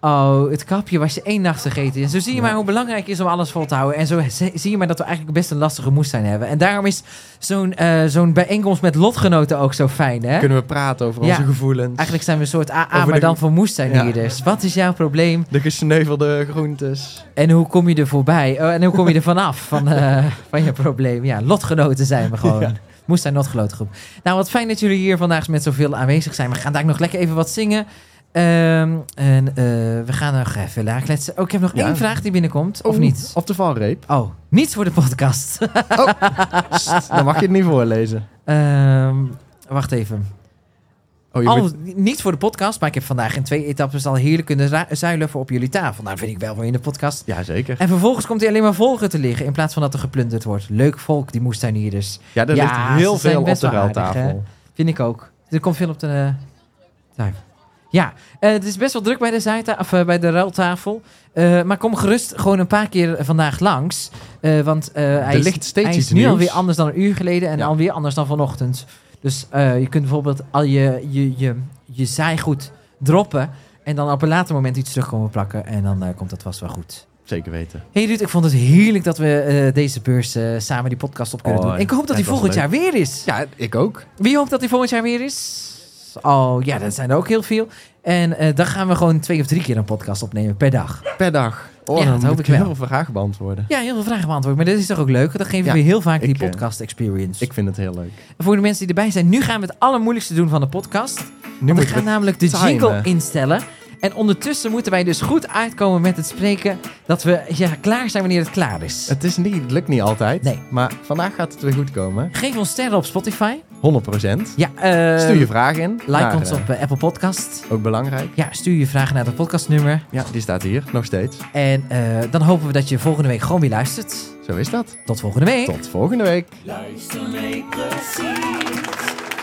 Oh, het kapje was je één nacht vergeten. En zo zie je maar hoe belangrijk het is om alles vol te houden. En zo z- zie je maar dat we eigenlijk best een lastige moestuin hebben. En daarom is zo'n eh, zo'n bijeenkomst met lotgenoten ook zo fijn, hè? Kunnen we praten over Ja. onze gevoelens? Eigenlijk zijn we een soort AA, Over maar de- dan voor moestuinierders. Wat is jouw probleem? De gesneuvelde groentes. En hoe kom je er voorbij? Oh, en hoe kom je er vanaf van, eh, van je probleem? Ja, lotgenoten zijn we gewoon. Moest zijn lotgenotengroep. Nou, wat fijn dat jullie hier vandaag met zoveel aanwezig zijn. We gaan daar nog lekker even wat zingen. Ehm, en eh, we gaan nog even laagletsen. Oh, ik heb nog Ja. één vraag die binnenkomt, of Oh, niet? Op de valreep. Oh, niets voor de podcast. Sst, dan mag je het niet voorlezen. Ehm, wacht even. Oh, je Al, moet- Niet voor de podcast, maar ik heb vandaag in twee etappes al heerlijk kunnen ra- zuilen voor op jullie tafel. Nou, vind ik wel voor in de podcast. Ja, zeker. En vervolgens komt hij alleen maar volgen te liggen in plaats van dat er geplunderd wordt. Leuk volk, die moestuinierders. Ja, er Ja, ligt heel ze zijn veel op best de wel aardig, ruiltafel. Vind ik ook. Er komt veel op de eh, tuin. Ja, eh, het is best wel druk bij de, zijta of, eh, bij de ruiltafel. Eh, maar kom gerust gewoon een paar keer vandaag langs. Eh, want eh, hij, er is, ligt steeds hij iets is nu nieuws. alweer anders dan een uur geleden en Ja. alweer anders dan vanochtend. Dus eh, je kunt bijvoorbeeld al je, je, je, je zaaigoed droppen. En dan op een later moment iets terugkomen plakken. En dan eh, komt dat vast wel goed. Zeker weten. Hey Ruud, ik vond het heerlijk dat we eh, deze beurs eh, samen die podcast op kunnen Oh, doen. Ik hoop dat ja, die het was volgend leuk. jaar weer is. Ja, ik ook. Wie hoopt dat die volgend jaar weer is? Oh ja, dat zijn er ook heel veel. En eh, dan gaan we gewoon twee of drie keer een podcast opnemen per dag. Per dag. Oh, Ja, dan dat moet hoop ik ik wel. heel veel vragen beantwoorden. Ja, heel veel vragen beantwoord. Maar dat is toch ook leuk? Dan geven Ja, we heel vaak die ik, eh, podcast experience. Ik vind het heel leuk. Voor de mensen die erbij zijn, nu gaan we het allermoeilijkste doen van de podcast. Nu we moet gaan ik... namelijk de timen. jingle instellen. En ondertussen moeten wij dus goed uitkomen met het spreken. Dat we ja, klaar zijn wanneer het klaar is. Het is niet, het lukt niet altijd. Nee. Maar vandaag gaat het weer goed komen. 100%. Geef ons sterren op Spotify. Ja, eh, Stuur je vragen in. like naar, ons eh, op eh, Apple Podcast. Ook belangrijk. Ja, stuur je vragen naar het podcastnummer. Ja, die staat hier. Nog steeds. En eh, dan hopen we dat je volgende week gewoon weer luistert. Zo is dat. Tot volgende week. Tot volgende week. Luister mee precies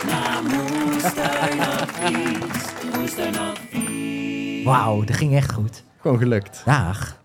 naar moestuinadvies. Moestuinadvies. Wauw, dat ging echt goed. Gewoon gelukt. Dag.